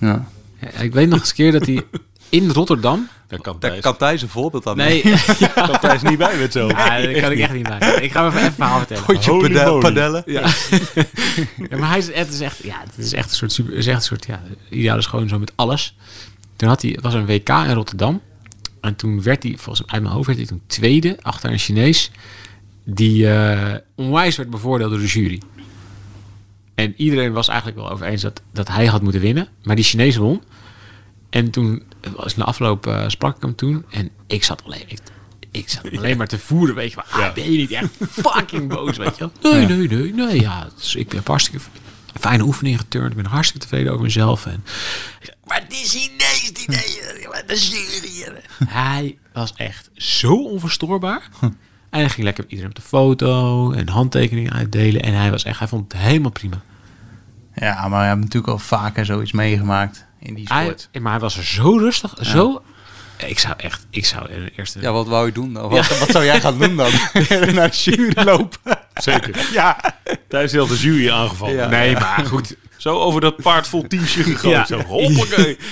[SPEAKER 3] Ja.
[SPEAKER 2] Ja, Ik weet nog eens een keer dat hij in Rotterdam...
[SPEAKER 1] Daar kan
[SPEAKER 3] Daar kan Thijs een voorbeeld aan
[SPEAKER 2] Nee,
[SPEAKER 1] kan Thijs niet bij met zo.
[SPEAKER 2] ja, dat kan ik echt niet bij. Ik ga hem even een verhaal vertellen.
[SPEAKER 1] Holy moly.
[SPEAKER 3] padellen.
[SPEAKER 2] Ja. Ja, maar hij is, het is echt, ja, het is echt een soort, super, is echt een soort ja, ideale schoonzoon met alles. Toen had hij, het was een WK in Rotterdam. En toen werd hij, volgens mij uit mijn hoofd, werd hij toen tweede achter een Chinees. Die eh, onwijs werd bevoordeeld door de jury. En iedereen was eigenlijk wel over eens dat, dat hij had moeten winnen. Maar die Chinees won. En toen, het was na afloop, eh, sprak ik hem toen. En ik zat alleen, ik, ik zat alleen maar te voeren, weet je. Maar, ah, ben je niet echt fucking boos, weet je wel? Nee, nee, nee, nee. Ja, dus ik ben hartstikke fijne oefening geturnd. Ik ben hartstikke tevreden over mezelf. En, maar die Chinees, die deed maar de Syriër. Hij was echt zo onverstoorbaar. En hij ging lekker met iedereen op de foto en handtekeningen uitdelen. En hij was echt, hij vond het helemaal prima.
[SPEAKER 3] Ja, maar we hebben natuurlijk al vaker zoiets meegemaakt in die
[SPEAKER 2] Hij,
[SPEAKER 3] sport.
[SPEAKER 2] maar hij was er zo rustig, zo... Ik zou echt, ik zou in de eerste...
[SPEAKER 3] Ja, wat wou je doen dan? Wat, wat zou jij gaan doen dan? Naar de jury lopen.
[SPEAKER 1] Zeker.
[SPEAKER 3] Ja.
[SPEAKER 1] Thijs heeft de jury aangevallen.
[SPEAKER 3] Ja.
[SPEAKER 2] nee, maar goed,
[SPEAKER 1] Zo over dat paard vol tientje gegooid.
[SPEAKER 2] Ja.
[SPEAKER 1] Zo, hoppakee.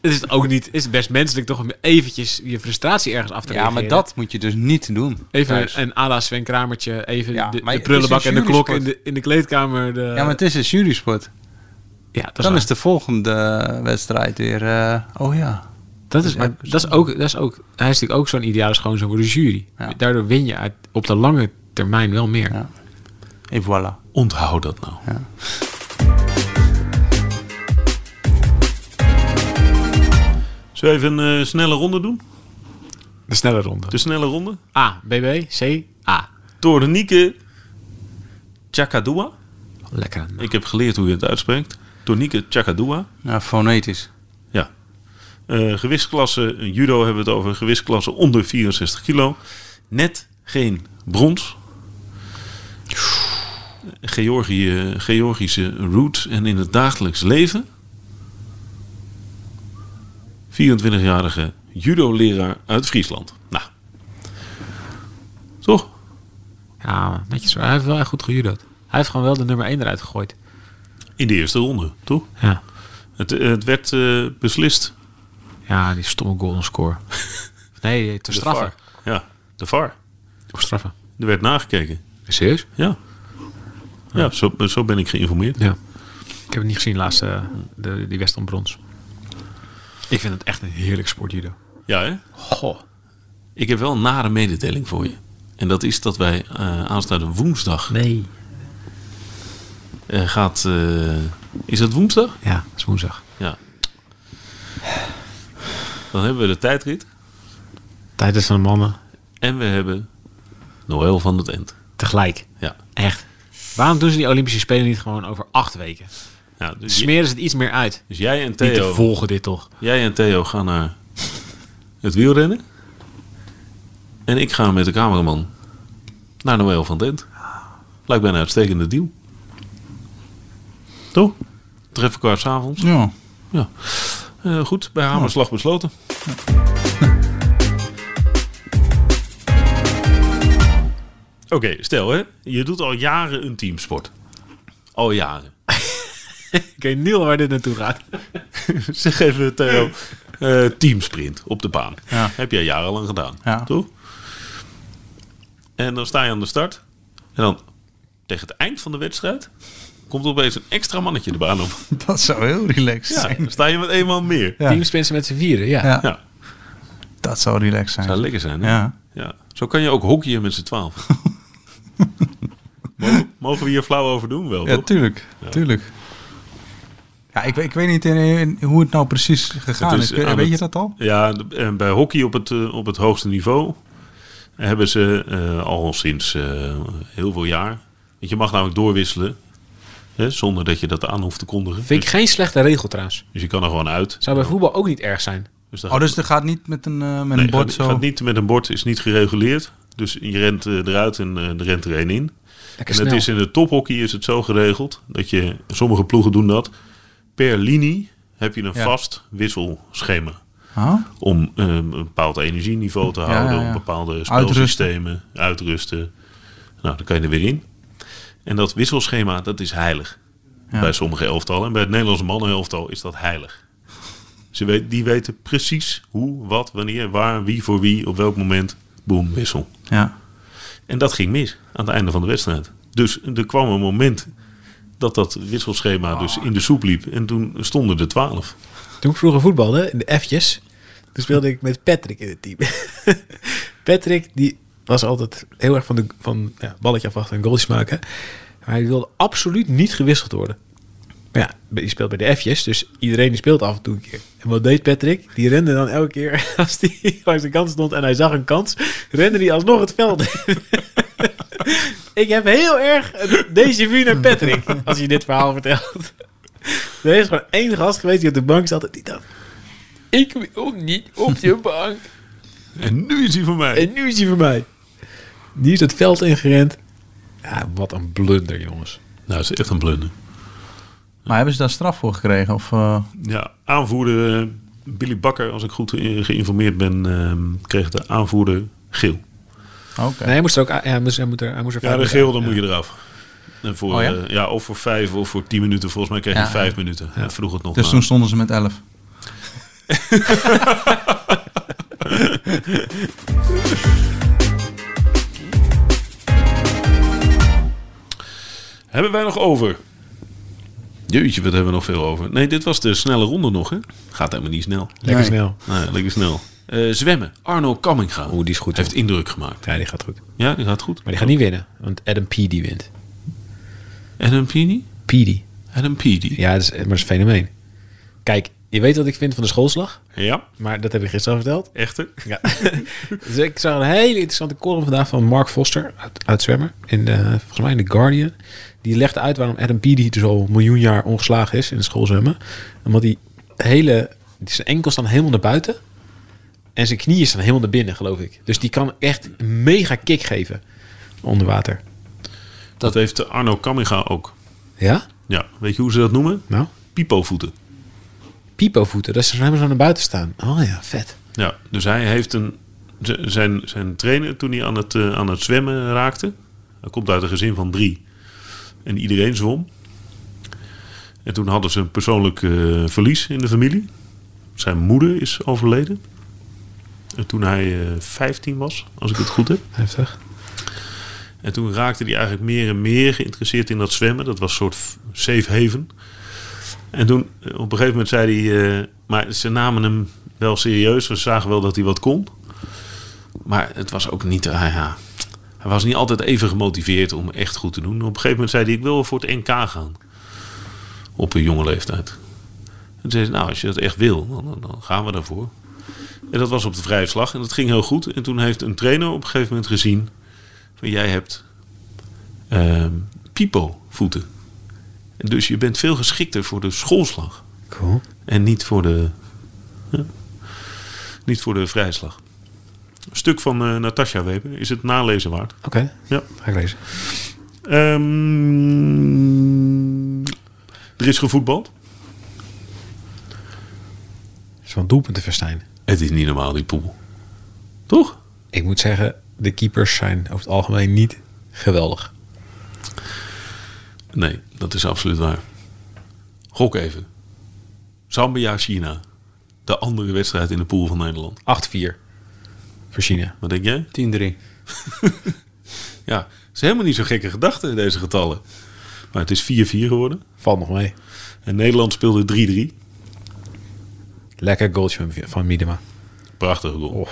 [SPEAKER 2] Het is het ook niet. Het is best menselijk toch om eventjes je frustratie ergens af te
[SPEAKER 3] Ja, maar
[SPEAKER 2] reageren.
[SPEAKER 3] dat moet je dus niet doen.
[SPEAKER 2] Even
[SPEAKER 3] Thuis.
[SPEAKER 2] een- een ala Sven Kramertje, even
[SPEAKER 3] Ja,
[SPEAKER 2] de,
[SPEAKER 3] maar
[SPEAKER 2] de
[SPEAKER 3] het
[SPEAKER 2] prullenbak
[SPEAKER 3] is een
[SPEAKER 2] en de klok in
[SPEAKER 3] jurysport.
[SPEAKER 2] de, in de kleedkamer. De,
[SPEAKER 3] Ja, maar het is een jurysport.
[SPEAKER 2] Ja, dat is,
[SPEAKER 3] Dan
[SPEAKER 2] waar.
[SPEAKER 3] is de volgende wedstrijd weer... eh, oh ja.
[SPEAKER 2] dat, is, maar, dat, is ook, dat is ook. Hij is natuurlijk ook zo'n ideale schoonzoon voor de jury.
[SPEAKER 3] Ja.
[SPEAKER 2] Daardoor win je uit, op de lange termijn wel meer.
[SPEAKER 3] Ja. Et voilà.
[SPEAKER 1] Onthoud dat nou. Zullen we even een eh, snelle ronde doen?
[SPEAKER 2] De snelle ronde.
[SPEAKER 1] De snelle ronde.
[SPEAKER 2] A, BB, C, A.
[SPEAKER 1] Tornieke Chakadua.
[SPEAKER 2] Lekker aan.
[SPEAKER 1] Ik heb geleerd hoe je het uitspreekt. Tornieke Chakadua.
[SPEAKER 3] Nou, fonetisch.
[SPEAKER 1] Ja. Eh gewichtsklasse, eh, judo hebben we het over. Gewichtsklasse onder 64 kilo. Net geen brons. Georgië, eh, Georgische route en in het dagelijks leven. 24-jarige judo-leraar uit Friesland. Nou, toch?
[SPEAKER 2] Ja, netjes hoor. Hij heeft wel echt goed gejudo'd. Hij heeft gewoon wel de nummer 1 eruit gegooid.
[SPEAKER 1] In de eerste ronde, toch?
[SPEAKER 2] Ja.
[SPEAKER 1] Het, het werd eh, beslist.
[SPEAKER 2] Ja, die stomme golden score. nee, eh, te straffen.
[SPEAKER 1] VAR. Ja, de VAR.
[SPEAKER 2] Of straffen.
[SPEAKER 1] Er werd nagekeken.
[SPEAKER 2] Serieus?
[SPEAKER 1] Ja. Ja, zo, zo ben ik geïnformeerd.
[SPEAKER 2] Ja. Ik heb het niet gezien laatst, eh, de, die Weston Brons. Ik vind het echt een heerlijk sport, judo.
[SPEAKER 1] Ja, hè?
[SPEAKER 2] Goh.
[SPEAKER 1] Ik heb wel een nare mededeling voor je. En dat is dat wij eh, aanstaande woensdag...
[SPEAKER 2] Nee.
[SPEAKER 1] eh, gaat... eh, is dat woensdag?
[SPEAKER 2] Ja, het is woensdag.
[SPEAKER 1] Ja. Dan hebben we de tijdrit.
[SPEAKER 2] Tijd is van de mannen.
[SPEAKER 1] En we hebben Noël van het End.
[SPEAKER 2] Tegelijk.
[SPEAKER 1] Ja.
[SPEAKER 2] Echt. Waarom doen ze die Olympische Spelen niet gewoon over acht weken?
[SPEAKER 1] ja dus, j-
[SPEAKER 2] Smeren ze het iets meer uit.
[SPEAKER 1] dus jij en
[SPEAKER 2] Niet te
[SPEAKER 1] Theo...
[SPEAKER 2] volgen dit toch?
[SPEAKER 1] Jij en Theo gaan naar het wielrennen. En ik ga met de cameraman naar Noël van het End. Lijkt mij een uitstekende deal. Toch? Treffen elkaar s'avonds.
[SPEAKER 3] Ja.
[SPEAKER 1] Ja. Eh, goed, bij Hamerslag besloten. Oké, stel hè, je doet al jaren een teamsport. Al jaren.
[SPEAKER 2] Ik weet niet waar dit naartoe gaat.
[SPEAKER 1] zeg even Theo, eh, teamsprint op de baan.
[SPEAKER 3] Ja.
[SPEAKER 1] Heb jij jarenlang gedaan,
[SPEAKER 3] Ja.
[SPEAKER 1] toch? En dan sta je aan de start. En dan tegen het eind van de wedstrijd komt opeens een extra mannetje de baan op.
[SPEAKER 3] Dat zou heel relaxed
[SPEAKER 1] Ja, dan sta je met één man meer.
[SPEAKER 3] Ja.
[SPEAKER 2] Teamsprinten met z'n vieren, ja.
[SPEAKER 3] Ja.
[SPEAKER 1] Ja,
[SPEAKER 3] Dat zou relaxed
[SPEAKER 1] zou
[SPEAKER 3] zijn.
[SPEAKER 1] lekker zijn hè?
[SPEAKER 3] Ja.
[SPEAKER 1] Ja, zo kan je ook hockeyen met z'n twaalf. mogen, mogen we hier flauw over doen wel,
[SPEAKER 3] Ja,
[SPEAKER 1] toch?
[SPEAKER 3] tuurlijk. Tuurlijk. Ja, ik, weet- ik weet niet in, in hoe het nou precies gegaan
[SPEAKER 1] Het is
[SPEAKER 3] is.
[SPEAKER 1] eh,
[SPEAKER 3] Weet,
[SPEAKER 1] aan
[SPEAKER 3] weet je
[SPEAKER 1] het-
[SPEAKER 3] dat al?
[SPEAKER 1] Ja, de- en bij hockey op het, eh, op het hoogste niveau hebben ze eh, al sinds eh, heel veel jaar... Want je mag namelijk doorwisselen, hè, zonder dat je dat aan hoeft te kondigen.
[SPEAKER 2] Vind ik
[SPEAKER 1] Dus,
[SPEAKER 2] geen slechte regel trouwens.
[SPEAKER 1] dus je kan er gewoon uit.
[SPEAKER 2] Zou bij voetbal ook niet erg zijn.
[SPEAKER 1] Dus dan
[SPEAKER 3] Oh, dus er gaat niet met een, eh, met een
[SPEAKER 1] Nee,
[SPEAKER 3] bord
[SPEAKER 1] gaat,
[SPEAKER 3] zo.
[SPEAKER 1] gaat niet met een bord, is niet gereguleerd. Dus je rent eh, eruit en eh, er rent er één in. En
[SPEAKER 2] Lekker
[SPEAKER 1] het
[SPEAKER 2] snel.
[SPEAKER 1] is in de tophockey is het zo geregeld dat je, sommige ploegen doen dat, per linie heb je een
[SPEAKER 3] Ja.
[SPEAKER 1] vast wisselschema.
[SPEAKER 3] Huh?
[SPEAKER 1] Om eh, een bepaald energieniveau te houden,
[SPEAKER 3] ja, ja.
[SPEAKER 1] om bepaalde
[SPEAKER 3] Uitrusten.
[SPEAKER 1] spelsystemen, uitrusten. Nou, dan kan je er weer in. En dat wisselschema, dat is heilig.
[SPEAKER 3] Ja.
[SPEAKER 1] Bij sommige elftallen. En bij het Nederlandse mannenelftal is dat heilig. Ze weet, die weten precies hoe, wat, wanneer, waar, wie voor wie, op welk moment. Boom, wissel.
[SPEAKER 3] Ja.
[SPEAKER 1] En dat ging mis aan het einde van de wedstrijd. Dus er kwam een moment dat dat wisselschema dus
[SPEAKER 3] Ah.
[SPEAKER 1] in de soep liep. En toen stonden er twaalf.
[SPEAKER 2] Toen ik vroeger voetbalde, in de F'jes, toen speelde ik met Patrick in het team. Patrick, die was altijd heel erg van, de, van ja, balletje afwachten en goaltjes maken. Maar hij wilde absoluut niet gewisseld worden. Maar ja, je speelt bij de F'jes, dus iedereen die speelt af en toe een keer. En wat deed Patrick? Die rende dan elke keer als hij langs de kant stond en hij zag een kans, rende hij alsnog het veld in. ik heb heel erg een déjà vu naar Patrick, als je dit verhaal vertelt. Er is gewoon één gast geweest die op de bank zat en die dacht... Ik wil niet op je bank.
[SPEAKER 1] En nu is hij voor mij.
[SPEAKER 2] En nu is hij voor mij. Die is het veld ingerend. Ja, wat een blunder, jongens.
[SPEAKER 1] Nou, dat is echt een blunder.
[SPEAKER 3] Maar hebben ze daar straf voor gekregen? Of, eh,
[SPEAKER 1] Ja, aanvoerder eh, Billy Bakker, als ik goed eh, geïnformeerd ben, ehm, kreeg de aanvoerder geel.
[SPEAKER 3] Oké.
[SPEAKER 2] Nee, hij moest er ook... aan- ja, Hij moest, hij moet er, hij moest er
[SPEAKER 1] Ja, de
[SPEAKER 2] vijf
[SPEAKER 1] geel,
[SPEAKER 2] minuten
[SPEAKER 1] dan
[SPEAKER 2] aan.
[SPEAKER 1] moet je eraf. En voor,
[SPEAKER 3] Oh ja?
[SPEAKER 1] eh, ja, of voor vijf of voor tien minuten. Volgens mij kreeg
[SPEAKER 3] Ja,
[SPEAKER 1] hij vijf minuten. Hij vroeg het nog
[SPEAKER 3] Dus
[SPEAKER 1] na.
[SPEAKER 3] toen stonden ze met 11.
[SPEAKER 1] Hebben wij nog over? Jeetje, wat hebben we nog veel over. Nee, dit was de snelle ronde nog, hè? Gaat helemaal niet snel.
[SPEAKER 2] Lekker
[SPEAKER 3] Nee.
[SPEAKER 2] snel.
[SPEAKER 1] Nou, ja, lekker snel. Eh, zwemmen. Arno Kamminga.
[SPEAKER 2] Oeh, die is goed,
[SPEAKER 1] Heeft indruk gemaakt.
[SPEAKER 2] Ja, die gaat goed. Maar
[SPEAKER 1] Ja, die gaat goed.
[SPEAKER 2] die gaat niet winnen, want Adam Peedy wint.
[SPEAKER 1] Adam Pini?
[SPEAKER 2] Peedy.
[SPEAKER 1] Adam Pini.
[SPEAKER 2] Ja, dat is, maar dat is een fenomeen. Kijk, je weet wat ik vind van de schoolslag,
[SPEAKER 1] Ja,
[SPEAKER 2] maar dat heb ik gisteren al verteld.
[SPEAKER 1] echte.
[SPEAKER 2] Ja. dus ik zag een hele interessante column vandaag van Mark Foster, uit, uit Zwemmer, in de, volgens mij in The Guardian. Die legde uit waarom Adam Peaty dus al een miljoen jaar ongeslagen is in het schoolzwemmen. Omdat die hele, zijn enkels staan helemaal naar buiten en zijn knieën staan helemaal naar binnen, geloof ik. Dus die kan echt een mega kick geven onder water.
[SPEAKER 1] Dat, heeft eh, Arno Kamminga ook.
[SPEAKER 2] Ja?
[SPEAKER 1] Ja, weet je hoe ze dat noemen?
[SPEAKER 2] Nou?
[SPEAKER 1] Pipovoeten.
[SPEAKER 2] Pipovoeten, dat ze helemaal zo naar buiten staan. Oh ja, vet.
[SPEAKER 1] Ja, dus hij heeft een... z- Zijn, zijn trainer, toen hij aan het, eh, aan het zwemmen raakte... Hij komt uit een gezin van drie. En iedereen zwom. En toen hadden ze een persoonlijk eh, verlies in de familie. Zijn moeder is overleden. En toen hij eh, 15 was, als ik het goed heb.
[SPEAKER 2] Heftig.
[SPEAKER 1] En toen raakte hij eigenlijk meer en meer geïnteresseerd in dat zwemmen. Dat was een soort f- safe haven. En toen, eh, op een gegeven moment zei hij... eh, maar ze namen hem wel serieus. Ze zagen wel dat hij wat kon. Maar het was ook niet... ah ja, hij was niet altijd even gemotiveerd om echt goed te doen. Op een gegeven moment zei hij... Ik wil wel voor het NK gaan. Op een jonge leeftijd. En toen zei hij... Nou, als je dat echt wil, dan, dan- dan gaan we daarvoor. En dat was op de vrije slag. En dat ging heel goed. En toen heeft een trainer op een gegeven moment gezien... Van, jij hebt ehm pipo voeten. En dus je bent veel geschikter voor de schoolslag.
[SPEAKER 2] Cool.
[SPEAKER 1] En niet voor de, ja, niet voor de vrijslag. Een stuk van eh Natasja Weber is het nalezen waard.
[SPEAKER 2] Oké,
[SPEAKER 1] Ja.
[SPEAKER 2] ga ik lezen.
[SPEAKER 1] Ehm, er is gevoetbald.
[SPEAKER 2] Dat is wel een doelpunt te verstijn.
[SPEAKER 1] Het is niet normaal, die poel. Toch?
[SPEAKER 2] Ik moet zeggen, de keepers zijn over het algemeen niet geweldig.
[SPEAKER 1] Nee, dat is absoluut waar. Gok even. Zambia, China. De andere wedstrijd in de pool van Nederland.
[SPEAKER 2] 8-4 voor China.
[SPEAKER 1] Wat denk jij?
[SPEAKER 3] 10-3.
[SPEAKER 1] Ja, het is helemaal niet zo'n gekke gedachte, deze getallen. Maar het is 4-4 geworden.
[SPEAKER 2] Valt nog mee.
[SPEAKER 1] En Nederland speelde 3-3.
[SPEAKER 2] Lekker goaltje van, van Miedema.
[SPEAKER 1] Prachtige goal.
[SPEAKER 2] Oh,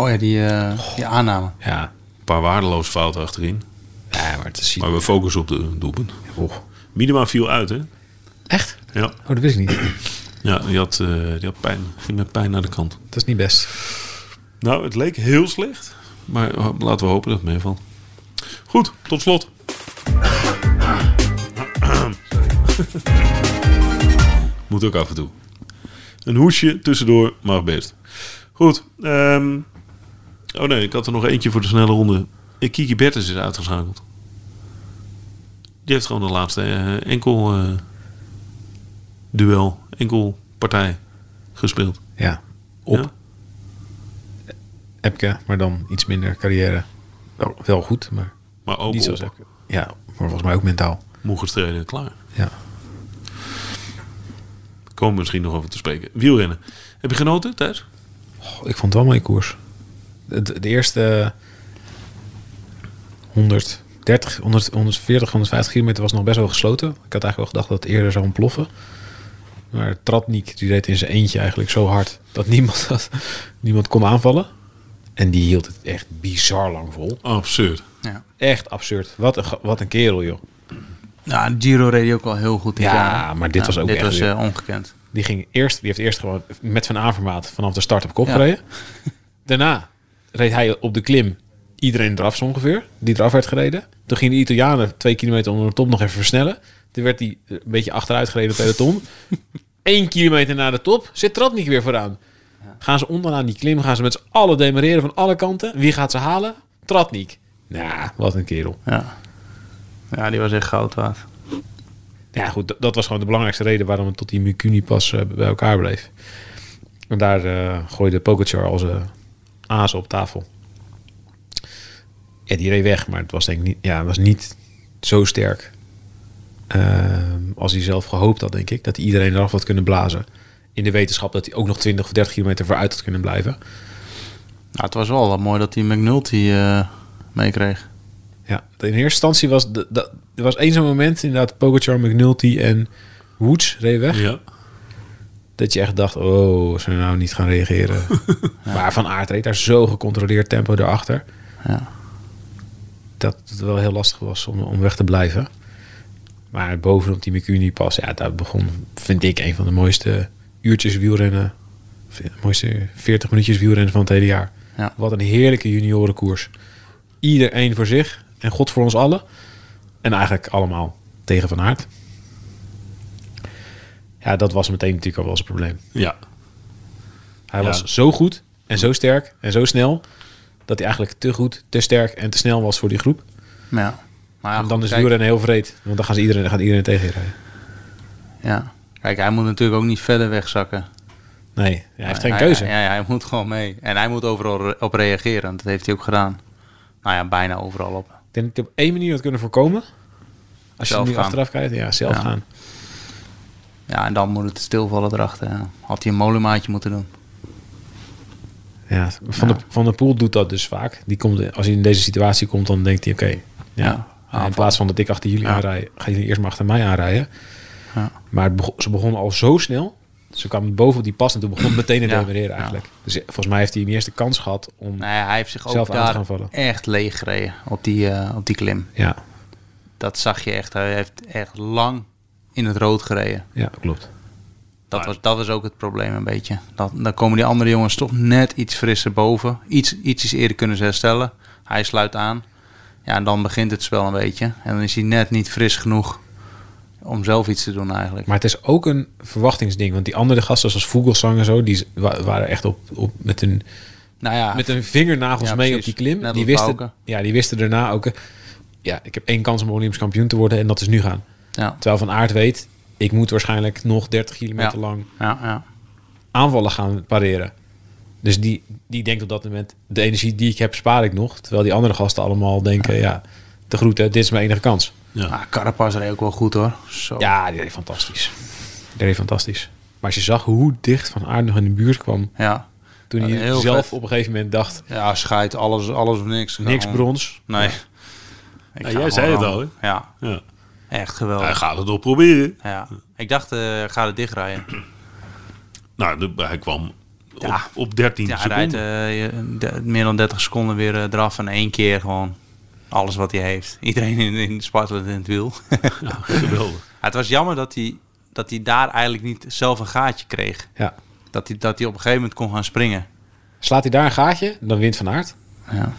[SPEAKER 3] Oh ja, die, eh, die aanname.
[SPEAKER 2] ja.
[SPEAKER 1] Een paar waardeloze fouten achterin.
[SPEAKER 2] ja, maar het is...
[SPEAKER 1] Maar we focussen op de doelpunt.
[SPEAKER 2] Oh.
[SPEAKER 1] Miedema viel uit, hè?
[SPEAKER 2] Echt?
[SPEAKER 1] Ja,
[SPEAKER 2] Oh, dat wist ik niet.
[SPEAKER 1] ja die, had, eh, die had pijn. Ging met pijn naar de kant.
[SPEAKER 2] Dat is niet best.
[SPEAKER 1] Nou, het leek heel slecht. Maar eh, laten we hopen dat het meevalt. Goed, tot slot. Moet ook af en toe. Een hoesje tussendoor mag best. Goed. ehm, oh nee, ik had er nog eentje voor de snelle ronde. Eh, Kiki Bertens is uitgeschakeld. Die heeft gewoon de laatste eh, enkel eh, duel, enkel partij gespeeld.
[SPEAKER 2] Ja. Op.
[SPEAKER 1] Ja?
[SPEAKER 2] Epke, maar dan iets minder carrière. Wel, wel goed, maar
[SPEAKER 1] Maar ook
[SPEAKER 2] niet
[SPEAKER 1] op.
[SPEAKER 2] zoals Epke. Ja, maar volgens mij ook mentaal.
[SPEAKER 1] moe gestreden, klaar.
[SPEAKER 2] Ja.
[SPEAKER 1] Komen we misschien nog over te spreken. Wielrennen. Heb je genoten, Thijs?
[SPEAKER 2] Goh, ik vond het wel een mooie koers. De, de- de eerste 130, 100, 140, 150 kilometer was nog best wel gesloten. Ik had eigenlijk wel gedacht dat het eerder zou ontploffen. Maar Tratnik, die reed in zijn eentje eigenlijk zo hard dat niemand, dat, niemand kon aanvallen. En die hield het echt bizar lang vol.
[SPEAKER 1] Oh, Absurd.
[SPEAKER 3] Ja.
[SPEAKER 2] Echt absurd. Wat een, ge- wat een kerel, joh.
[SPEAKER 3] Nou, Giro reed hij ook wel heel goed. dit
[SPEAKER 2] Ja,
[SPEAKER 3] jaar.
[SPEAKER 2] maar dit was ook
[SPEAKER 3] Dit
[SPEAKER 2] echt
[SPEAKER 3] was
[SPEAKER 2] weer-
[SPEAKER 3] eh, ongekend.
[SPEAKER 2] Die, ging eerst, die heeft eerst gewoon met Van Avermaat vanaf de start op kop
[SPEAKER 3] Ja.
[SPEAKER 2] gereden. Daarna reed hij op de klim iedereen eraf zo ongeveer. Die eraf werd gereden. Toen gingen de Italianen twee kilometer onder de top nog even versnellen. Toen werd hij een beetje achteruit gereden op het peloton. Eén kilometer naar de top zit Tratnik weer vooraan. Gaan ze onderaan die klim, gaan ze met z'n allen demareren van alle kanten. Wie gaat ze halen? Tratnik. Nou, wat een kerel.
[SPEAKER 3] Ja. ja, die was echt goud waard.
[SPEAKER 2] Ja, goed, dat, dat was gewoon de belangrijkste reden waarom het tot die Mukuni pas eh, bij elkaar bleef. En daar eh, gooide Pogacar als eh aas op tafel. Ja, die reed weg, maar het was denk ik niet, ja, het was niet zo sterk ehm, als hij zelf gehoopt had, denk ik. Dat hij iedereen eraf had kunnen blazen. In de wetenschap dat hij ook nog 20 of 30 kilometer vooruit had kunnen blijven.
[SPEAKER 3] Nou, het was wel wat mooi dat hij McNulty eh, meekreeg.
[SPEAKER 2] Ja, in eerste instantie was de, dat- er was één zo'n moment, inderdaad, Pogacar, McNulty en Woods reed weg.
[SPEAKER 1] Ja.
[SPEAKER 2] Dat je echt dacht, oh, ze nou niet gaan reageren. Maar Van Aert reed daar zo gecontroleerd tempo erachter.
[SPEAKER 3] Ja.
[SPEAKER 2] Dat het wel heel lastig was om, om weg te blijven. Maar bovenop die Mikuni pas, ja, daar begon, vind ik, een van de mooiste uurtjes wielrennen. Of ja, mooiste 40 minuutjes wielrennen van het hele jaar.
[SPEAKER 3] Ja.
[SPEAKER 2] Wat een heerlijke juniorenkoers. Iedereen voor zich en God voor ons allen. En eigenlijk allemaal tegen Van Aert. Ja, dat was meteen natuurlijk al wel zijn probleem.
[SPEAKER 1] Ja.
[SPEAKER 2] Hij
[SPEAKER 1] Ja.
[SPEAKER 2] was zo goed en zo sterk en zo snel dat hij eigenlijk te goed, te sterk en te snel was voor die groep.
[SPEAKER 3] Ja. Maar ja,
[SPEAKER 2] en
[SPEAKER 3] goed,
[SPEAKER 2] dan is
[SPEAKER 3] Ah, kijk,
[SPEAKER 2] wielrennen heel vreed, want dan gaan ze iedereen, dan gaat iedereen tegenrijden.
[SPEAKER 3] Ja. Kijk, hij moet natuurlijk ook niet verder wegzakken.
[SPEAKER 2] Nee, ja, hij heeft
[SPEAKER 3] Nee,
[SPEAKER 2] geen keuze.
[SPEAKER 3] Hij, ja, hij moet gewoon mee. En hij moet overal re- op reageren. Dat heeft hij ook gedaan. Nou ja, bijna overal op.
[SPEAKER 2] Ik denk dat hij op één manier had kunnen voorkomen. Als je
[SPEAKER 3] Zelf
[SPEAKER 2] nu
[SPEAKER 3] gaan.
[SPEAKER 2] achteraf kijkt, ja, zelf
[SPEAKER 3] Ja.
[SPEAKER 2] gaan.
[SPEAKER 3] Ja, en dan moet het stilvallen erachter. Ja. Had hij een molenmaatje moeten doen.
[SPEAKER 2] Ja, van, De, van der Poel doet dat dus vaak. Die komt, als hij in deze situatie komt, dan denkt hij, oké, ja, in plaats van dat ik achter jullie
[SPEAKER 3] Ja.
[SPEAKER 2] aanrij, gaan jullie eerst maar achter mij aanrijden.
[SPEAKER 3] Ja.
[SPEAKER 2] Maar het begon- ze begonnen al zo snel. Ze kwamen bovenop die pas en toen begon het meteen te
[SPEAKER 3] Ja.
[SPEAKER 2] demereren eigenlijk. Dus volgens mij heeft hij niet eerst de kans gehad om...
[SPEAKER 3] Nee, Nou hij heeft zich ook
[SPEAKER 2] Zelf aan te gaan
[SPEAKER 3] daar
[SPEAKER 2] vallen.
[SPEAKER 3] echt leeg gereden op die, eh, op die klim.
[SPEAKER 2] Ja,
[SPEAKER 3] Dat zag je echt. Hij heeft echt lang in het rood gereden.
[SPEAKER 2] ja klopt.
[SPEAKER 3] Dat was, dat was ook het probleem een beetje. Dat, dan komen die andere jongens toch net iets frisser boven. Iets, ietsjes eerder kunnen ze herstellen. Hij sluit aan. Ja, en dan begint het spel een beetje. En dan is hij net niet fris genoeg om zelf iets te doen eigenlijk.
[SPEAKER 2] Maar het is ook een verwachtingsding. Want die andere gasten zoals Vogelsang en zo... die z- wa- waren echt op, op, met hun
[SPEAKER 3] nou ja,
[SPEAKER 2] met hun vingernagels
[SPEAKER 3] Ja,
[SPEAKER 2] mee op
[SPEAKER 3] precies.
[SPEAKER 2] die klim.
[SPEAKER 3] Net als
[SPEAKER 2] die, wisten,
[SPEAKER 3] Bouke.
[SPEAKER 2] ja, die wisten daarna ook. eh, ja, ik heb één kans om Olympisch kampioen te worden en dat is nu gaan.
[SPEAKER 3] Ja,
[SPEAKER 2] Terwijl Van Aert weet, ik moet waarschijnlijk nog 30 kilometer
[SPEAKER 3] Ja.
[SPEAKER 2] lang
[SPEAKER 3] ja, ja.
[SPEAKER 2] aanvallen gaan pareren. Dus die, die denkt op dat moment, de energie die ik heb spaar ik nog. Terwijl die andere gasten allemaal denken, ja, de groeten, dit is mijn enige kans.
[SPEAKER 3] Ah, Carapaz reed ook wel goed hoor. Zo.
[SPEAKER 2] Ja, die deed fantastisch. Die deed fantastisch. Maar als je zag hoe dicht Van Aert nog in de buurt kwam...
[SPEAKER 3] ja.
[SPEAKER 2] toen
[SPEAKER 3] Ja,
[SPEAKER 2] hij
[SPEAKER 3] heel
[SPEAKER 2] zelf
[SPEAKER 3] vet.
[SPEAKER 2] op een gegeven moment dacht,
[SPEAKER 3] Ja, schijt, alles, alles of niks.
[SPEAKER 2] niks
[SPEAKER 3] Gewoon-
[SPEAKER 2] brons.
[SPEAKER 3] Nee. Ik
[SPEAKER 1] Ja,
[SPEAKER 3] ga
[SPEAKER 1] jij
[SPEAKER 3] gewoon
[SPEAKER 1] zei het
[SPEAKER 3] aan.
[SPEAKER 1] al, hè?
[SPEAKER 3] Ja,
[SPEAKER 1] Ja.
[SPEAKER 3] echt
[SPEAKER 1] Hij
[SPEAKER 3] geweldig.
[SPEAKER 1] gaat het nog proberen.
[SPEAKER 3] Ja. Ik dacht, eh ga er dichtrijden.
[SPEAKER 1] Nou, de- hij kwam
[SPEAKER 3] Ja.
[SPEAKER 1] op, op 13
[SPEAKER 3] Ja, hij
[SPEAKER 1] seconden.
[SPEAKER 3] rijdt eh, je- de- meer dan 30 seconden weer eh, eraf en één keer gewoon alles wat hij heeft. Iedereen in, in spartelt in het wiel.
[SPEAKER 1] Ja, geweldig.
[SPEAKER 3] Ja, het was jammer dat hij, dat hij daar eigenlijk niet zelf een gaatje kreeg.
[SPEAKER 2] Ja.
[SPEAKER 3] Dat hij, dat hij op een gegeven moment kon gaan springen.
[SPEAKER 2] Slaat hij daar een gaatje, dan wint Van Aert.
[SPEAKER 3] Ja.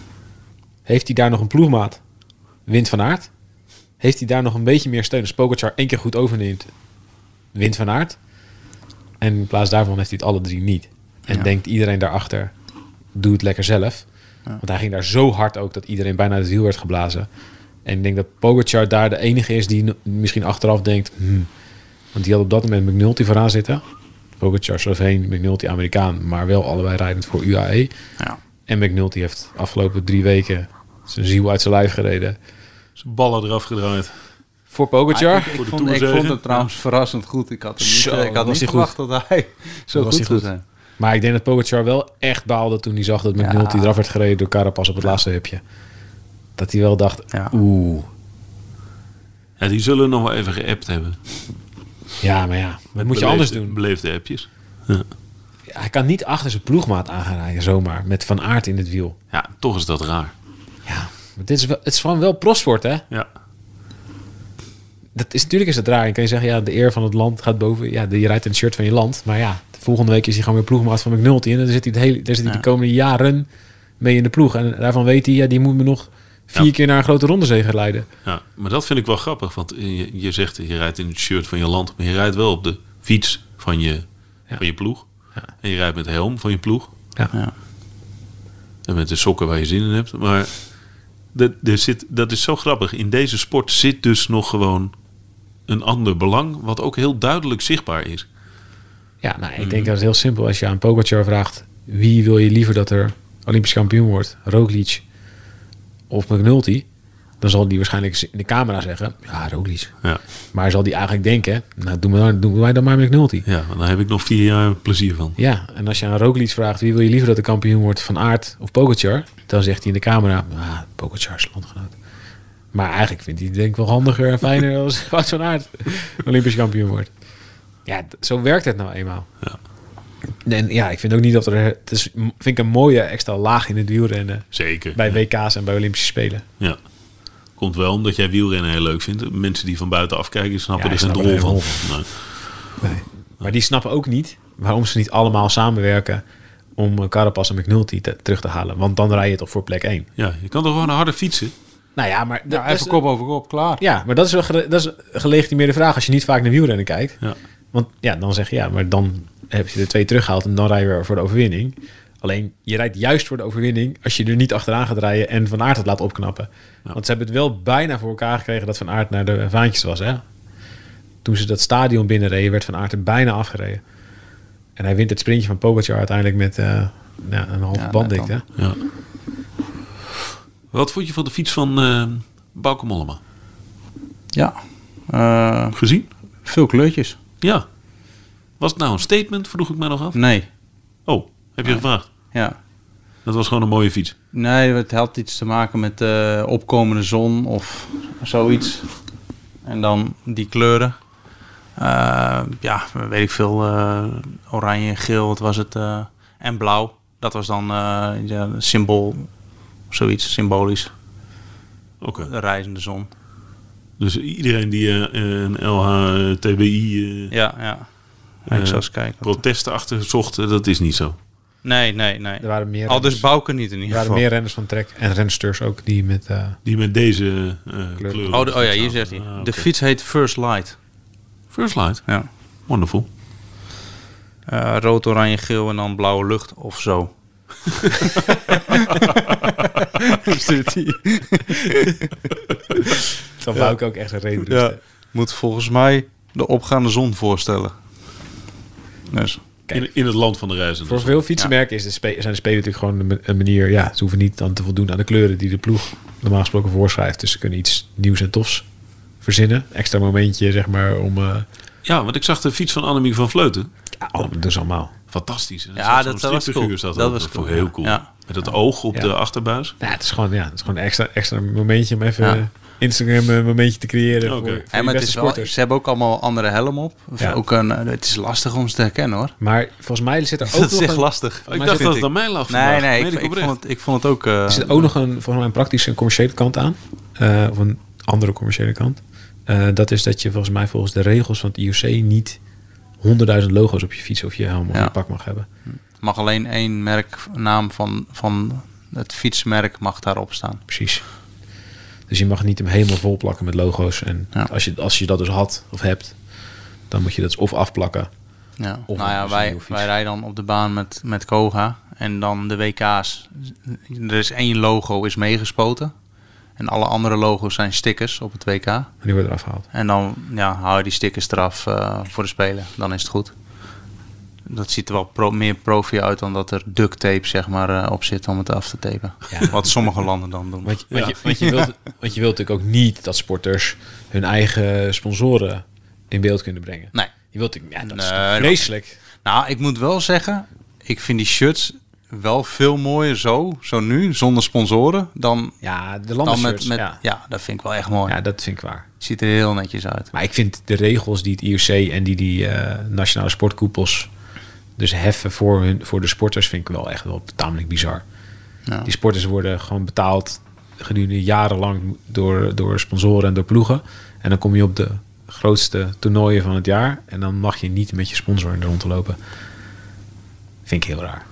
[SPEAKER 2] Heeft hij daar nog een ploegmaat? Wint van Aert. Heeft hij daar nog een beetje meer steun? Als Pogacar één keer goed overneemt, wint van Aert. En in plaats daarvan heeft hij het alle drie niet. En denkt iedereen daarachter, doe het lekker zelf. Want hij ging daar zo hard ook dat iedereen bijna uit het wiel werd geblazen. En ik denk dat Pogacar daar de enige is die n- misschien achteraf denkt... hmm, want die had op dat moment McNulty vooraan zitten. Pogacar Sloveen, McNulty Amerikaan. Maar wel allebei rijdend voor E. UAE.
[SPEAKER 3] Ja.
[SPEAKER 2] En McNulty heeft afgelopen drie weken zijn ziel uit zijn lijf gereden.
[SPEAKER 1] Zijn ballen eraf gedraaid.
[SPEAKER 2] Voor Pogacar.
[SPEAKER 3] ik,
[SPEAKER 1] Voor de
[SPEAKER 3] vond, ik
[SPEAKER 1] toerzegen.
[SPEAKER 3] vond het trouwens verrassend goed. Ik had, hem niet,
[SPEAKER 2] Zo,
[SPEAKER 3] eh, ik
[SPEAKER 2] was
[SPEAKER 3] had niet
[SPEAKER 2] hij
[SPEAKER 3] verwacht dat hij zo
[SPEAKER 2] Was hij
[SPEAKER 3] goed zou
[SPEAKER 2] goed.
[SPEAKER 3] zijn.
[SPEAKER 2] Maar ik denk dat Pogacar wel echt baalde toen hij zag dat McNulty eraf werd gereden door Carapaz op het laatste hupje. Dat hij wel dacht,
[SPEAKER 3] Ja.
[SPEAKER 2] oeh.
[SPEAKER 1] Ja, die zullen nog wel even geappt hebben.
[SPEAKER 2] Ja, maar ja, wat moet je anders
[SPEAKER 1] Beleefde-
[SPEAKER 2] doen?
[SPEAKER 1] Beleefde appjes.
[SPEAKER 2] Hij kan niet achter zijn ploegmaat aanrijden zomaar, met Van Aert in het wiel.
[SPEAKER 1] Ja, toch is dat raar.
[SPEAKER 2] Ja, maar dit is wel, het is gewoon wel prosport, hè?
[SPEAKER 1] Ja.
[SPEAKER 2] Dat is, natuurlijk is het raar. En kan je zeggen, ja, de eer van het land gaat boven. Ja, je rijdt in het shirt van je land. Maar ja, de volgende week is hij gewoon weer ploegmaat van McNulty. En dan zit hij, het hele, daar zit hij de komende jaren mee in de ploeg. En daarvan weet hij, ja, die moet me nog vier
[SPEAKER 1] Ja.
[SPEAKER 2] keer naar een grote rondezege leiden.
[SPEAKER 1] ja. Maar dat vind ik wel grappig. Want eh, je, je zegt, je rijdt in het shirt van je land. Maar je rijdt wel op de fiets van je, van je ploeg. En je rijdt met helm van je ploeg.
[SPEAKER 2] Ja.
[SPEAKER 3] Ja.
[SPEAKER 1] En met de sokken waar je zin in hebt. Maar dat, er zit, dat is zo grappig. In deze sport zit dus nog gewoon een ander belang. Wat ook heel duidelijk zichtbaar is.
[SPEAKER 2] Ja, nou, ik
[SPEAKER 1] Mhm.
[SPEAKER 2] denk dat het heel simpel Als je aan Pogacar vraagt, wie wil je liever dat er Olympisch kampioen wordt? Roglic of McNulty? Dan zal die waarschijnlijk in de camera zeggen, ja, Roglic.
[SPEAKER 1] Ja.
[SPEAKER 2] Maar zal die eigenlijk denken, nou, doen, we dan, doen wij dan maar McNulty.
[SPEAKER 1] Ja, want daar heb ik nog vier jaar plezier van.
[SPEAKER 2] Ja, en als je aan Roglic vraagt wie wil je liever dat de kampioen wordt van Aert of Pogacar, dan zegt hij in de camera, ah, Pogacar is landgenoot. Maar eigenlijk vindt hij het denk ik wel handiger en fijner als Wout van Aert Olympisch kampioen wordt. Ja, d- zo werkt het nou eenmaal. Ja. En ja, ik vind ook niet dat er... Het is, m- vind ik een mooie extra laag in het wielrennen
[SPEAKER 1] Zeker.
[SPEAKER 2] bij WK's en bij Olympische Spelen.
[SPEAKER 1] Ja. Komt wel omdat jij wielrennen heel leuk vindt. Mensen die van buiten afkijken snappen
[SPEAKER 2] Ja,
[SPEAKER 1] er
[SPEAKER 2] die
[SPEAKER 1] geen
[SPEAKER 2] snappen
[SPEAKER 1] rol
[SPEAKER 2] er
[SPEAKER 1] van.
[SPEAKER 2] geen
[SPEAKER 1] Nee.
[SPEAKER 2] Maar die snappen ook niet waarom ze niet allemaal samenwerken om eh, Carapaz en McNulty te- terug te halen. Want dan rij je toch voor plek 1.
[SPEAKER 1] Ja, je kan toch gewoon harder fietsen?
[SPEAKER 2] Nou ja, maar... dat-
[SPEAKER 3] Ja,
[SPEAKER 2] dat is-
[SPEAKER 3] even kop over kop, klaar.
[SPEAKER 2] Ja, maar dat is wel gere- dat is een gelegitimeerde vraag als je niet vaak naar wielrennen kijkt.
[SPEAKER 1] Ja.
[SPEAKER 2] Want ja, dan zeg je ja, maar dan heb je de twee teruggehaald en dan rij je weer voor de overwinning. Alleen je rijdt juist voor de overwinning als je er niet achteraan gaat rijden en Van Aert het laat opknappen. Want ze hebben het wel bijna voor elkaar gekregen dat Van Aert naar de vaantjes was. Hè? Toen ze dat stadion binnenreden, werd Van Aert er bijna afgereden. En hij wint het sprintje van Pogacar uiteindelijk met eh, nou, een halve
[SPEAKER 3] Ja,
[SPEAKER 2] banddikte.
[SPEAKER 3] net
[SPEAKER 1] ja. Wat vond je van de fiets van eh Bauke Mollema?
[SPEAKER 3] Ja. Eh,
[SPEAKER 1] Gezien?
[SPEAKER 3] veel kleurtjes.
[SPEAKER 1] Ja. Was het nou een statement? Vroeg ik mij nog af.
[SPEAKER 3] Nee.
[SPEAKER 1] Oh, heb je gevraagd?
[SPEAKER 3] Ja.
[SPEAKER 1] Dat was gewoon een mooie fiets.
[SPEAKER 3] Nee, het had iets te maken met eh, opkomende zon of zoiets. En dan die kleuren. Eh, ja, weet ik veel. eh, oranje en geel, wat was het? eh, en blauw. Dat was dan eh, ja, een symbool. Zoiets symbolisch.
[SPEAKER 1] Oké.
[SPEAKER 3] De reizende zon.
[SPEAKER 1] Dus iedereen die eh, een LHTBI eh
[SPEAKER 3] Ja, ja. ik zal eens kijken.
[SPEAKER 1] protesten achter zocht, eh, dat is niet zo.
[SPEAKER 3] Nee, nee, nee.
[SPEAKER 2] Er waren meer
[SPEAKER 3] Al dus
[SPEAKER 2] renners.
[SPEAKER 3] Bouken niet in
[SPEAKER 2] Er
[SPEAKER 3] ieder
[SPEAKER 2] waren
[SPEAKER 3] geval.
[SPEAKER 2] meer renners van Trek en rensters ook die met... eh,
[SPEAKER 1] Die met deze eh kleur.
[SPEAKER 3] Oh, de- oh ja, hier zegt hij.
[SPEAKER 1] Ah, oké.
[SPEAKER 3] De fiets heet First Light.
[SPEAKER 1] First light.
[SPEAKER 3] Ja.
[SPEAKER 1] Wonderful.
[SPEAKER 3] Eh, rood, oranje, geel en dan blauwe lucht of zo. Stuurt hij.
[SPEAKER 2] Dan wou ik ook echt een reden
[SPEAKER 3] Ja. Moet volgens mij de opgaande zon voorstellen. Dus.
[SPEAKER 1] In, in het land van de reizenden.
[SPEAKER 2] Voor veel fietsenmerken is de spe- zijn de spelen natuurlijk gewoon een ma- een manier... Ja, ze hoeven niet dan te voldoen aan de kleuren die de ploeg normaal gesproken voorschrijft. Dus ze kunnen iets nieuws en tofs verzinnen. Extra momentje, zeg maar, om... eh
[SPEAKER 1] Ja, want ik zag de fiets van Annemie van Vleuten.
[SPEAKER 2] ja, allemaal- dat is dus allemaal.
[SPEAKER 1] Fantastisch. En er
[SPEAKER 3] Ja,
[SPEAKER 1] zat
[SPEAKER 3] dat-
[SPEAKER 1] zo'n
[SPEAKER 3] dat was
[SPEAKER 1] stripfiguur
[SPEAKER 3] cool.
[SPEAKER 1] zat
[SPEAKER 3] Dat
[SPEAKER 1] ook.
[SPEAKER 3] was
[SPEAKER 1] vond ik
[SPEAKER 3] cool,
[SPEAKER 1] heel
[SPEAKER 3] ja.
[SPEAKER 1] cool.
[SPEAKER 3] Ja.
[SPEAKER 1] Met dat oog op
[SPEAKER 2] Ja.
[SPEAKER 1] de achterbuis.
[SPEAKER 2] Nou, het is gewoon, ja, het is gewoon een extra, extra momentje om even
[SPEAKER 3] Ja.
[SPEAKER 2] eh, Instagram een momentje te creëren
[SPEAKER 1] Oké.
[SPEAKER 2] voor, voor
[SPEAKER 3] Ja,
[SPEAKER 2] je
[SPEAKER 3] maar het
[SPEAKER 2] beste
[SPEAKER 3] is wel,
[SPEAKER 2] sporters.
[SPEAKER 3] ze hebben ook allemaal andere helm op. Of
[SPEAKER 2] Ja.
[SPEAKER 3] Ook een, eh, het is lastig om ze te herkennen hoor.
[SPEAKER 2] Maar volgens mij zit er ook
[SPEAKER 3] Dat is
[SPEAKER 2] nog
[SPEAKER 3] echt
[SPEAKER 2] een,
[SPEAKER 3] lastig.
[SPEAKER 1] Ik dacht
[SPEAKER 3] vind
[SPEAKER 1] dat het aan mij lag
[SPEAKER 3] Nee,
[SPEAKER 1] vandaag.
[SPEAKER 3] nee,
[SPEAKER 1] Meen
[SPEAKER 3] ik,
[SPEAKER 1] ik
[SPEAKER 3] ik,
[SPEAKER 1] oprecht.
[SPEAKER 3] vond het, ik vond het ook... eh,
[SPEAKER 2] er zit ook nog een, volgens mij een praktische en commerciële kant aan. Eh, of een andere commerciële kant. Eh, dat is dat je volgens mij volgens de regels van het IOC niet honderdduizend logo's op je fiets of je helm of
[SPEAKER 3] Ja.
[SPEAKER 2] je pak mag hebben.
[SPEAKER 3] mag alleen één merknaam van, van het fietsmerk mag daarop staan.
[SPEAKER 2] Precies. Dus je mag niet hem helemaal vol plakken met logo's. En
[SPEAKER 3] Ja.
[SPEAKER 2] als, je, als je dat dus had of hebt, dan moet je dat dus of afplakken.
[SPEAKER 3] Ja.
[SPEAKER 2] Of
[SPEAKER 3] nou ja,
[SPEAKER 2] een
[SPEAKER 3] wij,
[SPEAKER 2] sneeuwfiets.
[SPEAKER 3] wij rijden dan op de baan met, met Koga. En dan de WK's. Er is één logo is meegespoten. En alle andere logo's zijn stickers op het WK.
[SPEAKER 2] En die wordt eraf gehaald.
[SPEAKER 3] En dan ja, hou je die stickers eraf eh, voor de spelen. Dan is het goed. Dat ziet er wel pro- meer profi uit dan dat er duct tape zeg maar, eh, op zit om het af te tapen.
[SPEAKER 2] Ja.
[SPEAKER 3] Wat sommige landen dan doen.
[SPEAKER 2] Want, je- want, je, want, je wilt, want je wilt natuurlijk ook niet dat sporters hun eigen sponsoren in beeld kunnen brengen.
[SPEAKER 3] Nee.
[SPEAKER 2] Je wilt natuurlijk, ja, dat is
[SPEAKER 3] Nee,
[SPEAKER 2] toch
[SPEAKER 3] dat-
[SPEAKER 2] vreselijk.
[SPEAKER 3] Nou, ik moet wel zeggen, ik vind die shirts wel veel mooier zo, zo nu, zonder sponsoren, dan,
[SPEAKER 2] Ja, de
[SPEAKER 3] dan
[SPEAKER 2] landenshirts.
[SPEAKER 3] met... met ja.
[SPEAKER 2] ja.
[SPEAKER 3] dat vind ik wel echt mooi.
[SPEAKER 2] ja, dat vind ik waar.
[SPEAKER 3] Ziet er heel netjes uit.
[SPEAKER 2] Maar ik vind de regels die het IOC en die die eh, nationale sportkoepels dus heffen voor, hun, voor de sporters, vind ik wel echt wel tamelijk bizar.
[SPEAKER 3] Ja.
[SPEAKER 2] Die sporters worden gewoon betaald gedurende jarenlang door, door sponsoren en door ploegen. En dan kom je op de grootste toernooien van het jaar en dan mag je niet met je sponsor in de rond lopen. Vind ik heel raar.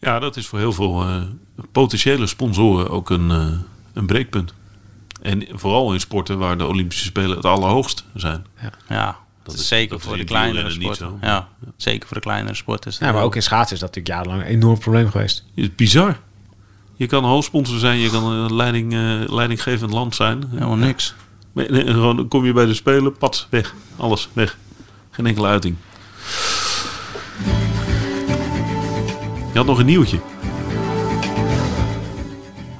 [SPEAKER 1] Ja, dat is voor heel veel eh, potentiële sponsoren ook een, eh, een breekpunt. En vooral in sporten waar de Olympische Spelen het allerhoogst zijn.
[SPEAKER 3] Ja, dat
[SPEAKER 1] is-
[SPEAKER 3] is zeker
[SPEAKER 1] dat is
[SPEAKER 3] voor de
[SPEAKER 1] in
[SPEAKER 3] kleinere
[SPEAKER 1] wielrennen niet
[SPEAKER 3] sporten.
[SPEAKER 1] zo.
[SPEAKER 3] Ja, zeker voor de kleinere sporters.
[SPEAKER 2] Ja, maar ook in schaatsen is dat natuurlijk jarenlang een enorm probleem geweest.
[SPEAKER 1] Het is bizar. Je kan hoofdsponsor zijn, je kan een leiding, eh, leidinggevend land zijn.
[SPEAKER 3] helemaal niks.
[SPEAKER 1] Maar, nee, gewoon dan kom je bij de Spelen, pat, weg. Alles, weg. Geen enkele uiting. Je had nog een nieuwtje.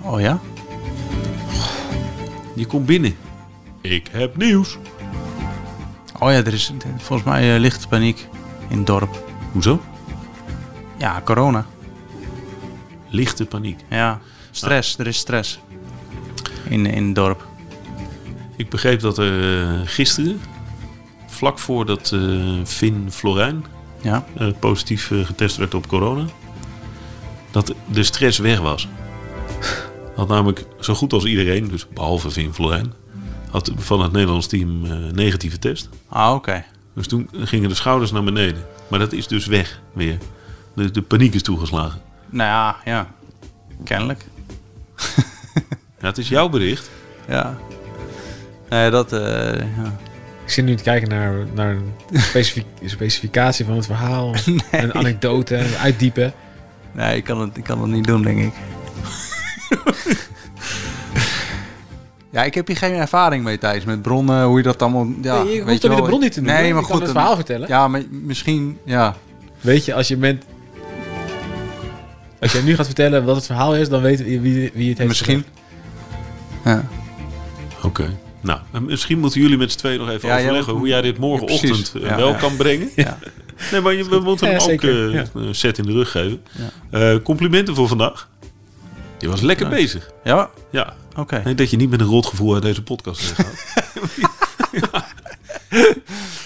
[SPEAKER 3] Oh ja?
[SPEAKER 1] Je komt binnen. Ik heb nieuws.
[SPEAKER 3] Oh ja, er is volgens mij eh, lichte paniek in het dorp.
[SPEAKER 1] Hoezo?
[SPEAKER 3] Ja, corona.
[SPEAKER 1] Lichte paniek.
[SPEAKER 3] Ja, stress. Er is stress in, in het dorp.
[SPEAKER 1] Ik begreep dat er eh, gisteren, vlak voordat eh Finn Florijn
[SPEAKER 3] Ja,
[SPEAKER 1] eh, positief eh, getest werd op corona, dat de stress weg was. Had namelijk zo goed als iedereen, dus behalve Finn Florijn, had van het Nederlands team eh, negatieve test.
[SPEAKER 3] ah oké.
[SPEAKER 1] Dus toen gingen de schouders naar beneden. Maar dat is dus weg weer. De, de paniek is toegeslagen.
[SPEAKER 3] Nou ja, ja. Kennelijk.
[SPEAKER 1] Ja, het is jouw bericht.
[SPEAKER 3] Ja. Nee, dat... eh, ja.
[SPEAKER 2] Ik zit nu te kijken naar, naar een specific- specificatie van het verhaal. Een anekdote, een uitdiepen.
[SPEAKER 3] Nee, ik kan, het, ik kan het niet doen, denk ik. ja, ik heb hier geen ervaring mee, Thijs. Met bronnen, hoe je dat allemaal... Ja,
[SPEAKER 2] Nee, je hoeft
[SPEAKER 3] weet
[SPEAKER 2] er
[SPEAKER 3] wel.
[SPEAKER 2] weer de bron niet te noemen.
[SPEAKER 3] Nee,
[SPEAKER 2] Je
[SPEAKER 3] maar
[SPEAKER 2] kan
[SPEAKER 3] goed.
[SPEAKER 2] het
[SPEAKER 3] een-
[SPEAKER 2] verhaal vertellen.
[SPEAKER 3] Ja, maar misschien... Ja,
[SPEAKER 2] Weet je, als je bent... Als jij nu gaat vertellen wat het verhaal is, dan weet wie, wie het heeft
[SPEAKER 3] misschien.
[SPEAKER 2] gezegd.
[SPEAKER 3] Ja,
[SPEAKER 1] Oké. Nou, en misschien moeten jullie met z'n tweeën nog even
[SPEAKER 3] Ja, jij
[SPEAKER 1] overleggen
[SPEAKER 3] moet-
[SPEAKER 1] hoe jij dit morgenochtend
[SPEAKER 3] precies.
[SPEAKER 1] eh,
[SPEAKER 3] Ja,
[SPEAKER 1] wel
[SPEAKER 3] ja.
[SPEAKER 1] kan brengen.
[SPEAKER 3] ja.
[SPEAKER 1] Nee, maar je, we moeten
[SPEAKER 2] Ja,
[SPEAKER 1] hem ook
[SPEAKER 2] zeker.
[SPEAKER 1] eh,
[SPEAKER 2] Ja.
[SPEAKER 1] een set in de rug geven. Eh, complimenten voor vandaag. Je was lekker bezig.
[SPEAKER 3] ja
[SPEAKER 1] Ja.
[SPEAKER 3] oké.
[SPEAKER 1] Nee, dat je niet met een rot gevoel uit deze podcast weggaat.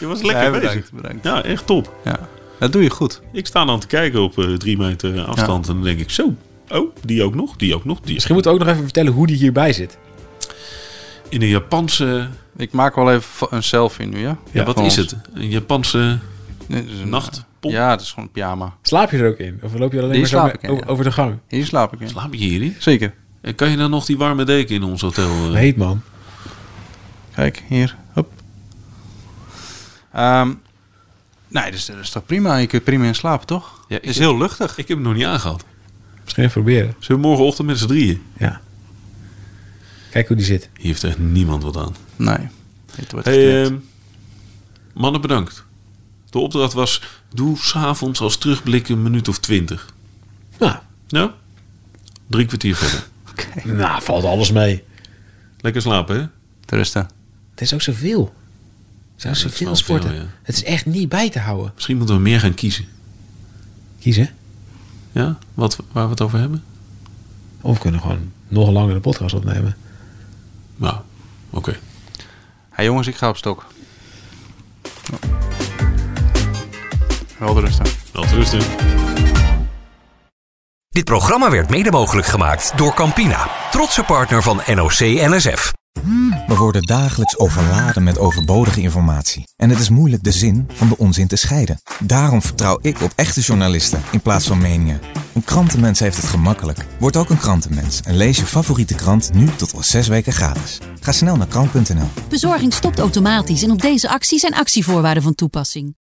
[SPEAKER 1] Je was lekker
[SPEAKER 3] Nee,
[SPEAKER 1] bezig.
[SPEAKER 3] bedankt, bedankt.
[SPEAKER 1] Ja, echt top.
[SPEAKER 3] Ja. Dat doe je goed.
[SPEAKER 1] Ik sta dan te kijken op eh, drie meter afstand en dan denk ik zo. Oh, die ook nog, die ook nog. Die
[SPEAKER 2] Misschien moeten we ook nog even vertellen hoe die hierbij zit.
[SPEAKER 1] In een Japanse...
[SPEAKER 3] Ik maak wel even fo- een selfie nu, ja?
[SPEAKER 1] Ja, wat
[SPEAKER 3] Van
[SPEAKER 1] is
[SPEAKER 3] ons.
[SPEAKER 1] het? Een Japanse
[SPEAKER 3] Dit is een eh,
[SPEAKER 1] nachtpop.
[SPEAKER 3] Ja, het is gewoon een pyjama.
[SPEAKER 2] Slaap je er ook in? Of loop je alleen
[SPEAKER 3] Die
[SPEAKER 2] maar zo
[SPEAKER 3] slaap
[SPEAKER 2] met-
[SPEAKER 3] ik in, ja.
[SPEAKER 2] over de gang?
[SPEAKER 3] Hier slaap ik in.
[SPEAKER 1] Slaap je hierin?
[SPEAKER 3] Zeker.
[SPEAKER 1] En kan je dan nog die warme deken in ons hotel... eh,
[SPEAKER 2] Heet man.
[SPEAKER 3] Kijk, hier. Hop. Ehm, nee, dus dat is toch prima? Je kunt prima in slapen, toch?
[SPEAKER 1] Ja,
[SPEAKER 3] Het
[SPEAKER 1] ik-
[SPEAKER 3] is heel luchtig.
[SPEAKER 1] Ik heb hem nog niet aangehad.
[SPEAKER 2] Misschien even proberen.
[SPEAKER 1] Zullen we morgenochtend met z'n drieën?
[SPEAKER 2] Ja. Kijk hoe die zit.
[SPEAKER 1] Hier heeft echt niemand wat aan.
[SPEAKER 3] Nee. Het wordt
[SPEAKER 1] Hey,
[SPEAKER 3] geknipt.
[SPEAKER 1] ehm, mannen, bedankt. De opdracht was: doe s'avonds als terugblik een minuut of twintig.
[SPEAKER 2] Nou,
[SPEAKER 1] Nou, drie kwartier verder.
[SPEAKER 2] nou valt alles mee.
[SPEAKER 1] Lekker slapen, hè?
[SPEAKER 3] Te rusten.
[SPEAKER 2] Het is ook zoveel. Zou
[SPEAKER 1] het is
[SPEAKER 2] zoveel
[SPEAKER 1] wel veel,
[SPEAKER 2] sporten.
[SPEAKER 1] ja.
[SPEAKER 2] Het is echt niet bij te houden.
[SPEAKER 1] Misschien moeten we meer gaan kiezen.
[SPEAKER 2] Kiezen.
[SPEAKER 1] Ja, wat, waar we het over hebben?
[SPEAKER 2] Of we kunnen gewoon nog langer de podcast opnemen.
[SPEAKER 1] Nou, oké.
[SPEAKER 3] Hey jongens, ik ga op stok. Wel te rusten.
[SPEAKER 1] Wel te rusten.
[SPEAKER 5] Dit programma werd mede mogelijk gemaakt door Campina, trotse partner van NOC NSF.
[SPEAKER 6] We worden dagelijks overladen met overbodige informatie. En het is moeilijk de zin van de onzin te scheiden. Daarom vertrouw ik op echte journalisten in plaats van meningen. Een krantenmens heeft het gemakkelijk. Word ook een krantenmens en lees je favoriete krant nu tot al zes weken gratis. Ga snel naar krant.nl.
[SPEAKER 7] Bezorging stopt automatisch en op deze actie zijn actievoorwaarden van toepassing.